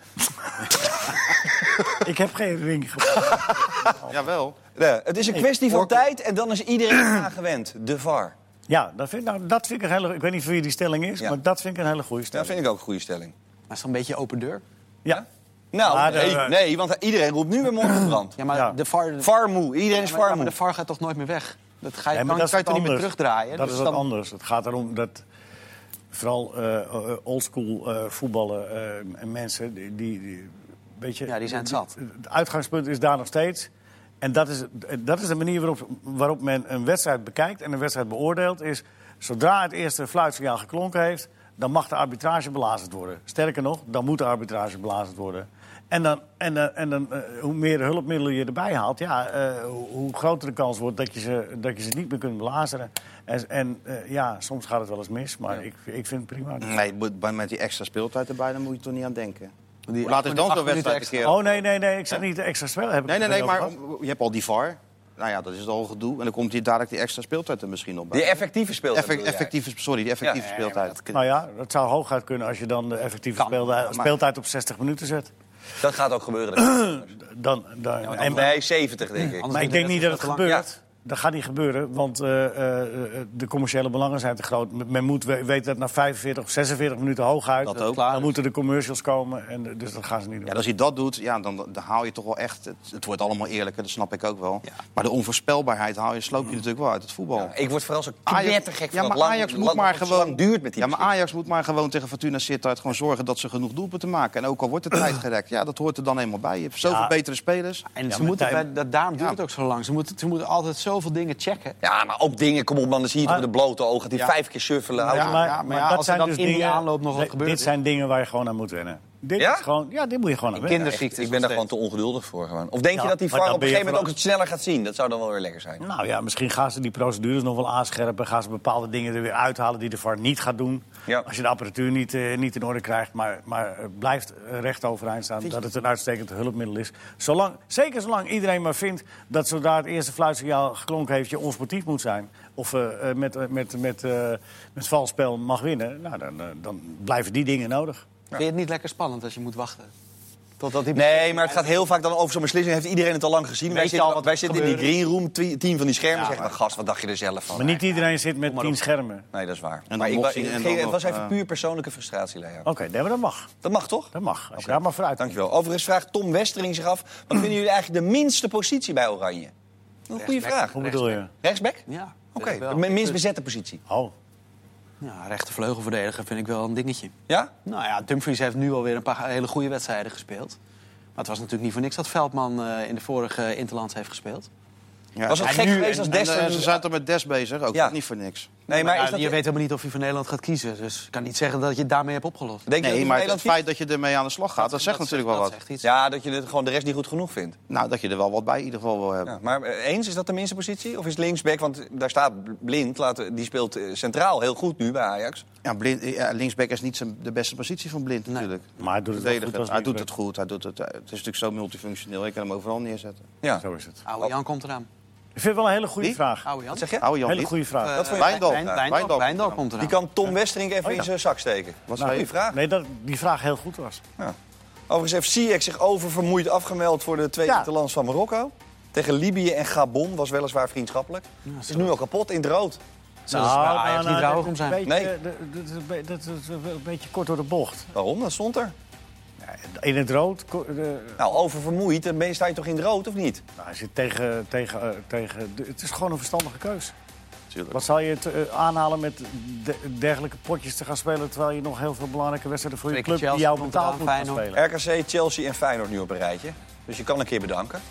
Speaker 3: Ik heb geen ring gewonnen.
Speaker 2: Jawel.
Speaker 1: Nee, het is een kwestie van tijd en dan is iedereen eraan gewend. De VAR.
Speaker 3: Ja, dat vind, ik nou, dat vind ik een hele... Ik weet niet voor wie die stelling is,
Speaker 1: Ja.
Speaker 3: maar dat vind ik een hele goede
Speaker 1: Dat
Speaker 3: stelling.
Speaker 1: vind ik ook een goede stelling.
Speaker 4: Maar is dat een beetje open deur?
Speaker 3: Ja.
Speaker 1: Nou,
Speaker 3: Maar de-
Speaker 1: nee, nee, want iedereen roept nu weer mondgebrand.
Speaker 4: Ja, maar
Speaker 3: Ja.
Speaker 4: de VAR... Ja,
Speaker 1: Varmoe, iedereen is
Speaker 4: maar- ja, maar
Speaker 1: varmoe.
Speaker 4: de VAR gaat toch nooit meer weg? Dat ga
Speaker 3: Nee,
Speaker 4: je,
Speaker 3: maar
Speaker 4: kan,
Speaker 3: dat is
Speaker 4: kan
Speaker 3: wat
Speaker 4: je toch niet meer
Speaker 3: anders.
Speaker 4: terugdraaien?
Speaker 3: Dat
Speaker 4: Dus
Speaker 3: is wat
Speaker 4: dan-
Speaker 3: anders. Het gaat erom dat vooral eh, eh, oldschool eh voetballen eh, en mensen die, die, die- weet je,
Speaker 4: Ja, die zijn het zat.
Speaker 3: Het uitgangspunt is daar nog steeds. En dat is, dat is de manier waarop, waarop men een wedstrijd bekijkt en een wedstrijd beoordeelt. Is zodra het eerste fluitsignaal geklonken heeft, dan mag de arbitrage belazerd worden. Sterker nog, dan moet de arbitrage belazerd worden. En, dan, en, dan- en dan, eh, hoe meer hulpmiddelen je erbij haalt, ja, eh, hoe, hoe groter de kans wordt dat je ze, dat je ze niet meer kunt belazeren. En, en eh, ja, soms gaat het wel eens mis, maar ik, ik vind het prima.
Speaker 2: Nee, moet- bij- met die extra speeltijd erbij, dan moet je toch niet aan denken.
Speaker 4: Die
Speaker 2: Hoe laat is
Speaker 4: acht-
Speaker 2: dan
Speaker 4: acht minuten
Speaker 2: zo'n wedstrijd een
Speaker 4: extra.
Speaker 3: Oh
Speaker 2: keer?
Speaker 3: nee, nee, nee, ik zeg niet de extra spel. Heb ik
Speaker 2: Nee, nee,
Speaker 3: het
Speaker 2: nee,
Speaker 3: over
Speaker 2: maar
Speaker 3: gehad?
Speaker 2: om- je hebt al die VAR. Nou ja, dat is het al gedoe. En dan komt hier dadelijk die extra speeltijd er misschien op bij.
Speaker 1: Die effectieve speelt.
Speaker 2: Effe- effectieve, sorry, die effectieve
Speaker 1: Ja.
Speaker 2: speeltijd.
Speaker 3: Nou ja, dat zou hooguit kunnen als je dan de effectieve
Speaker 4: Kan,
Speaker 3: speeltijd,
Speaker 2: maar-
Speaker 3: speeltijd op 60 minuten zet.
Speaker 1: Dat gaat ook gebeuren.
Speaker 3: Dan, dan, en-
Speaker 1: nee, 70 denk ik.
Speaker 3: maar ik denk niet dat het
Speaker 4: Ja.
Speaker 3: gebeurt. Dat gaat niet gebeuren, want eh, eh, eh, de commerciële belangen zijn te groot. Men moet we- weten dat na 45 of 46 minuten hooguit...
Speaker 2: Dat ook.
Speaker 3: dan moeten de commercials komen, en, eh, dus dat gaan ze niet doen.
Speaker 2: Ja, als hij dat doet, ja, dan, dan haal je toch wel echt... Het, het wordt allemaal eerlijker, dat snap ik ook wel.
Speaker 4: Ja.
Speaker 2: Maar de onvoorspelbaarheid haal je, sloop je natuurlijk wel uit het voetbal.
Speaker 1: Ik word vooral zo
Speaker 2: Ajax-
Speaker 1: knettergek van
Speaker 2: ja, maar
Speaker 1: dat lang-
Speaker 2: Ajax moet
Speaker 1: lang-
Speaker 2: maar
Speaker 1: dat het zo
Speaker 2: gewoon
Speaker 1: lang duurt met die
Speaker 2: Ja, maar
Speaker 1: beslissing.
Speaker 2: Ajax moet maar gewoon tegen Fortuna Sittard gewoon zorgen dat ze genoeg doelpunten maken. En ook al wordt de tijd gerekt, ja, dat hoort er dan eenmaal bij. Je hebt zoveel
Speaker 3: Ja.
Speaker 2: betere spelers.
Speaker 4: En
Speaker 3: Ja,
Speaker 4: ze
Speaker 3: maar
Speaker 4: moeten,
Speaker 3: Tijmen-
Speaker 4: bij- dat, daarom duurt
Speaker 2: Ja.
Speaker 4: het ook zo lang. Ze moeten, ze moeten altijd zoveel dingen checken.
Speaker 1: Ja, maar op dingen, kom op man, dan zie je toch met de blote ogen die
Speaker 2: Ja.
Speaker 1: vijf keer suffelen.
Speaker 3: Ja,
Speaker 1: Ja.
Speaker 4: ja, maar ja, als er dan in die aanloop nog wat
Speaker 3: dit-
Speaker 4: gebeurt,
Speaker 3: dus Dit zijn dingen waar je gewoon aan moet wennen. Dit
Speaker 1: Ja?
Speaker 3: is gewoon, ja, dit moet je gewoon aan wennen.
Speaker 4: Kinderziektes.
Speaker 1: Ik ben daar
Speaker 4: nog
Speaker 1: gewoon
Speaker 4: steeds.
Speaker 1: te ongeduldig voor. Gewoon. Of denk
Speaker 3: Ja,
Speaker 1: je dat die
Speaker 3: maar
Speaker 1: VAR op
Speaker 3: dan
Speaker 1: een
Speaker 3: ben je
Speaker 1: gegeven moment ook
Speaker 3: vooral-
Speaker 1: het sneller gaat zien? Dat zou dan wel weer lekker zijn.
Speaker 3: Nou ja, misschien gaan ze die procedures nog wel aanscherpen. Gaan ze bepaalde dingen er weer uithalen die de VAR niet gaat doen.
Speaker 1: Ja.
Speaker 3: Als je de apparatuur niet, eh, niet in orde krijgt. Maar, maar het blijft eh, recht overeind staan dat het een uitstekend hulpmiddel is. Zolang, zeker zolang iedereen maar vindt dat zodra het eerste fluitsignaal geklonken heeft... je onsportief moet zijn. Of eh, eh, met, eh, met, met, eh met vals spel mag winnen. Nou, dan, eh, dan blijven die dingen nodig.
Speaker 4: Vind je het niet lekker spannend als je moet wachten? Totdat die...
Speaker 1: Nee, maar het gaat heel vaak dan over zo'n beslissing. Heeft iedereen het al lang gezien? Wij
Speaker 4: je
Speaker 1: zitten,
Speaker 4: al wat
Speaker 1: wij
Speaker 4: er
Speaker 1: zitten in die greenroom, twi- tien van die schermen.
Speaker 3: Ja,
Speaker 1: zeggen
Speaker 3: maar-
Speaker 1: maar, gast, wat dacht je er zelf van?
Speaker 3: Maar niet iedereen zit met tien schermen.
Speaker 1: Nee, dat is waar.
Speaker 2: dan
Speaker 1: maar ik,
Speaker 2: nog
Speaker 1: wa-
Speaker 2: zien
Speaker 1: ik-
Speaker 2: en
Speaker 1: ik-
Speaker 2: dan
Speaker 1: het
Speaker 2: nog,
Speaker 1: was even
Speaker 2: eh,
Speaker 1: puur persoonlijke frustratie, Leo.
Speaker 3: Oké, nee, maar dat mag.
Speaker 1: Dat mag toch?
Speaker 3: Dat mag. Als je daar maar vooruit komt.
Speaker 1: Dankjewel. Overigens vraagt Tom Westering zich af... wat vinden jullie eigenlijk de minste positie bij Oranje? Een goede vraag.
Speaker 3: Hoe bedoel je?
Speaker 1: Rechtsback?
Speaker 4: Ja,
Speaker 1: Oké,
Speaker 4: vind ik wel.
Speaker 1: de minst bezette positie.
Speaker 3: Oh,
Speaker 4: Ja, rechtervleugelverdediger vind ik wel een dingetje.
Speaker 1: Ja?
Speaker 4: Nou ja, Dumfries heeft nu alweer een paar hele goede wedstrijden gespeeld. Maar het was natuurlijk niet voor niks dat Veldman eh, in de vorige Interlands heeft gespeeld.
Speaker 2: Ja.
Speaker 1: Was het
Speaker 2: En
Speaker 1: gek
Speaker 2: nu-
Speaker 1: geweest als
Speaker 2: en-
Speaker 1: Des
Speaker 2: en,
Speaker 1: er-
Speaker 2: Ze zijn toch met Des bezig, ook
Speaker 1: Ja.
Speaker 2: dat niet voor niks.
Speaker 1: Nee, maar
Speaker 4: Ja,
Speaker 1: is dat...
Speaker 4: Nou, Je weet helemaal niet of je voor Nederland gaat kiezen. Dus ik kan niet zeggen dat je het daarmee hebt opgelost.
Speaker 1: Denk je dat
Speaker 2: Nee,
Speaker 1: die
Speaker 2: maar het
Speaker 1: Nederland
Speaker 2: feit dat je ermee aan de slag gaat, dat, zegt natuurlijk wel
Speaker 4: dat
Speaker 2: wat.
Speaker 4: zegt iets.
Speaker 1: Ja, dat je het gewoon de rest niet goed genoeg vindt.
Speaker 2: Nou, dat je er wel wat bij in ieder geval wil hebben.
Speaker 1: Ja, maar eh, eens, is dat de minste positie? Of is linksback, want daar staat Blind, laten we- die speelt eh, centraal heel goed nu bij Ajax.
Speaker 2: Ja, blind, ja, linksback is niet zijn, de beste positie van Blind natuurlijk.
Speaker 3: maar hij doet het wel
Speaker 2: Verdediger.
Speaker 3: goed als
Speaker 2: hij doet
Speaker 3: linksback.
Speaker 2: het goed. Hij doet het, eh, het is natuurlijk zo multifunctioneel. Je kan hem overal neerzetten.
Speaker 1: Ja.
Speaker 3: zo is het.
Speaker 4: Oude Jan komt eraan.
Speaker 3: Ik vind het wel een hele goede
Speaker 2: Wie?
Speaker 3: vraag.
Speaker 4: Oude Jan.
Speaker 1: Wat zeg je?
Speaker 2: Hou Jan
Speaker 3: Hele
Speaker 2: niet.
Speaker 3: goede vraag.
Speaker 4: Eh,
Speaker 1: Dat vond je-
Speaker 2: Wijndal.
Speaker 4: Wijn-
Speaker 2: Ja,
Speaker 4: Wijndal-
Speaker 2: Wijndal
Speaker 4: Wijndal
Speaker 2: komt
Speaker 4: komt eraan.
Speaker 1: Die kan Tom Westerink even in zijn zak steken. Nou,
Speaker 2: Wat zei
Speaker 1: goede
Speaker 2: je?
Speaker 1: vraag.
Speaker 3: Nee, dat, die vraag heel goed was.
Speaker 1: Overigens heeft Ziyech zich oververmoeid afgemeld voor de tweede
Speaker 3: Ja.
Speaker 1: interlands van Marokko. Tegen Libië en Gabon was weliswaar vriendschappelijk. Is nu al kapot in het rood.
Speaker 3: Nou,
Speaker 4: Zoals bij Ajax Ah, niet
Speaker 3: dat
Speaker 4: rouwig om
Speaker 3: is
Speaker 4: zijn.
Speaker 3: een beetje-
Speaker 1: Nee.
Speaker 3: dat- dat is een be- Dat is een be- een beetje kort door de bocht.
Speaker 1: Waarom? Dat stond er.
Speaker 3: In het rood. ko- de-
Speaker 1: Nou, oververmoeid, dan ben je, sta je toch in het rood, of niet?
Speaker 3: nou, hij zit tegen, tegen, eh, tegen, de- het is gewoon een verstandige keus.
Speaker 2: Natuurlijk.
Speaker 3: Wat zal je het eh, aanhalen met de- dergelijke potjes te gaan spelen... terwijl je nog heel veel belangrijke wedstrijden voor je
Speaker 4: Zeker
Speaker 3: club... die
Speaker 4: Chelsea
Speaker 3: jou
Speaker 4: komt
Speaker 3: betaald
Speaker 4: eraan,
Speaker 3: moet gaan
Speaker 4: Feyenoord.
Speaker 3: spelen?
Speaker 1: RKC, Chelsea en Feyenoord nu op een rijtje. Dus je kan een keer bedanken.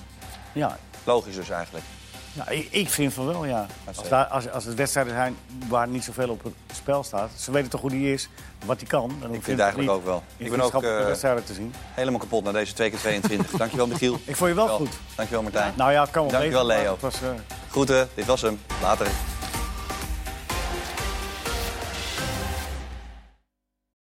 Speaker 3: Ja,
Speaker 1: Logisch dus eigenlijk.
Speaker 3: Ja, Nou, ik, ik vind van wel, ja. Als, daar, als, als het wedstrijden zijn waar niet zoveel op het spel staat. Ze weten toch hoe die is, wat die kan. En dan hoef je
Speaker 1: vind het
Speaker 3: toch
Speaker 1: eigenlijk
Speaker 3: niet
Speaker 1: ook wel.
Speaker 3: in
Speaker 1: Ik ben ook,
Speaker 3: vriendschappelijke
Speaker 1: eh,
Speaker 3: wedstrijden te zien.
Speaker 1: Helemaal kapot na deze 2 keer 22. Dankjewel, Michiel.
Speaker 3: Ik vond je wel goed.
Speaker 1: Dankjewel, Martijn.
Speaker 3: Nou ja, het kan wel
Speaker 1: Dankjewel,
Speaker 3: beter, maar
Speaker 1: Leo.
Speaker 3: het was, eh,
Speaker 1: Groeten, dit was hem. Later.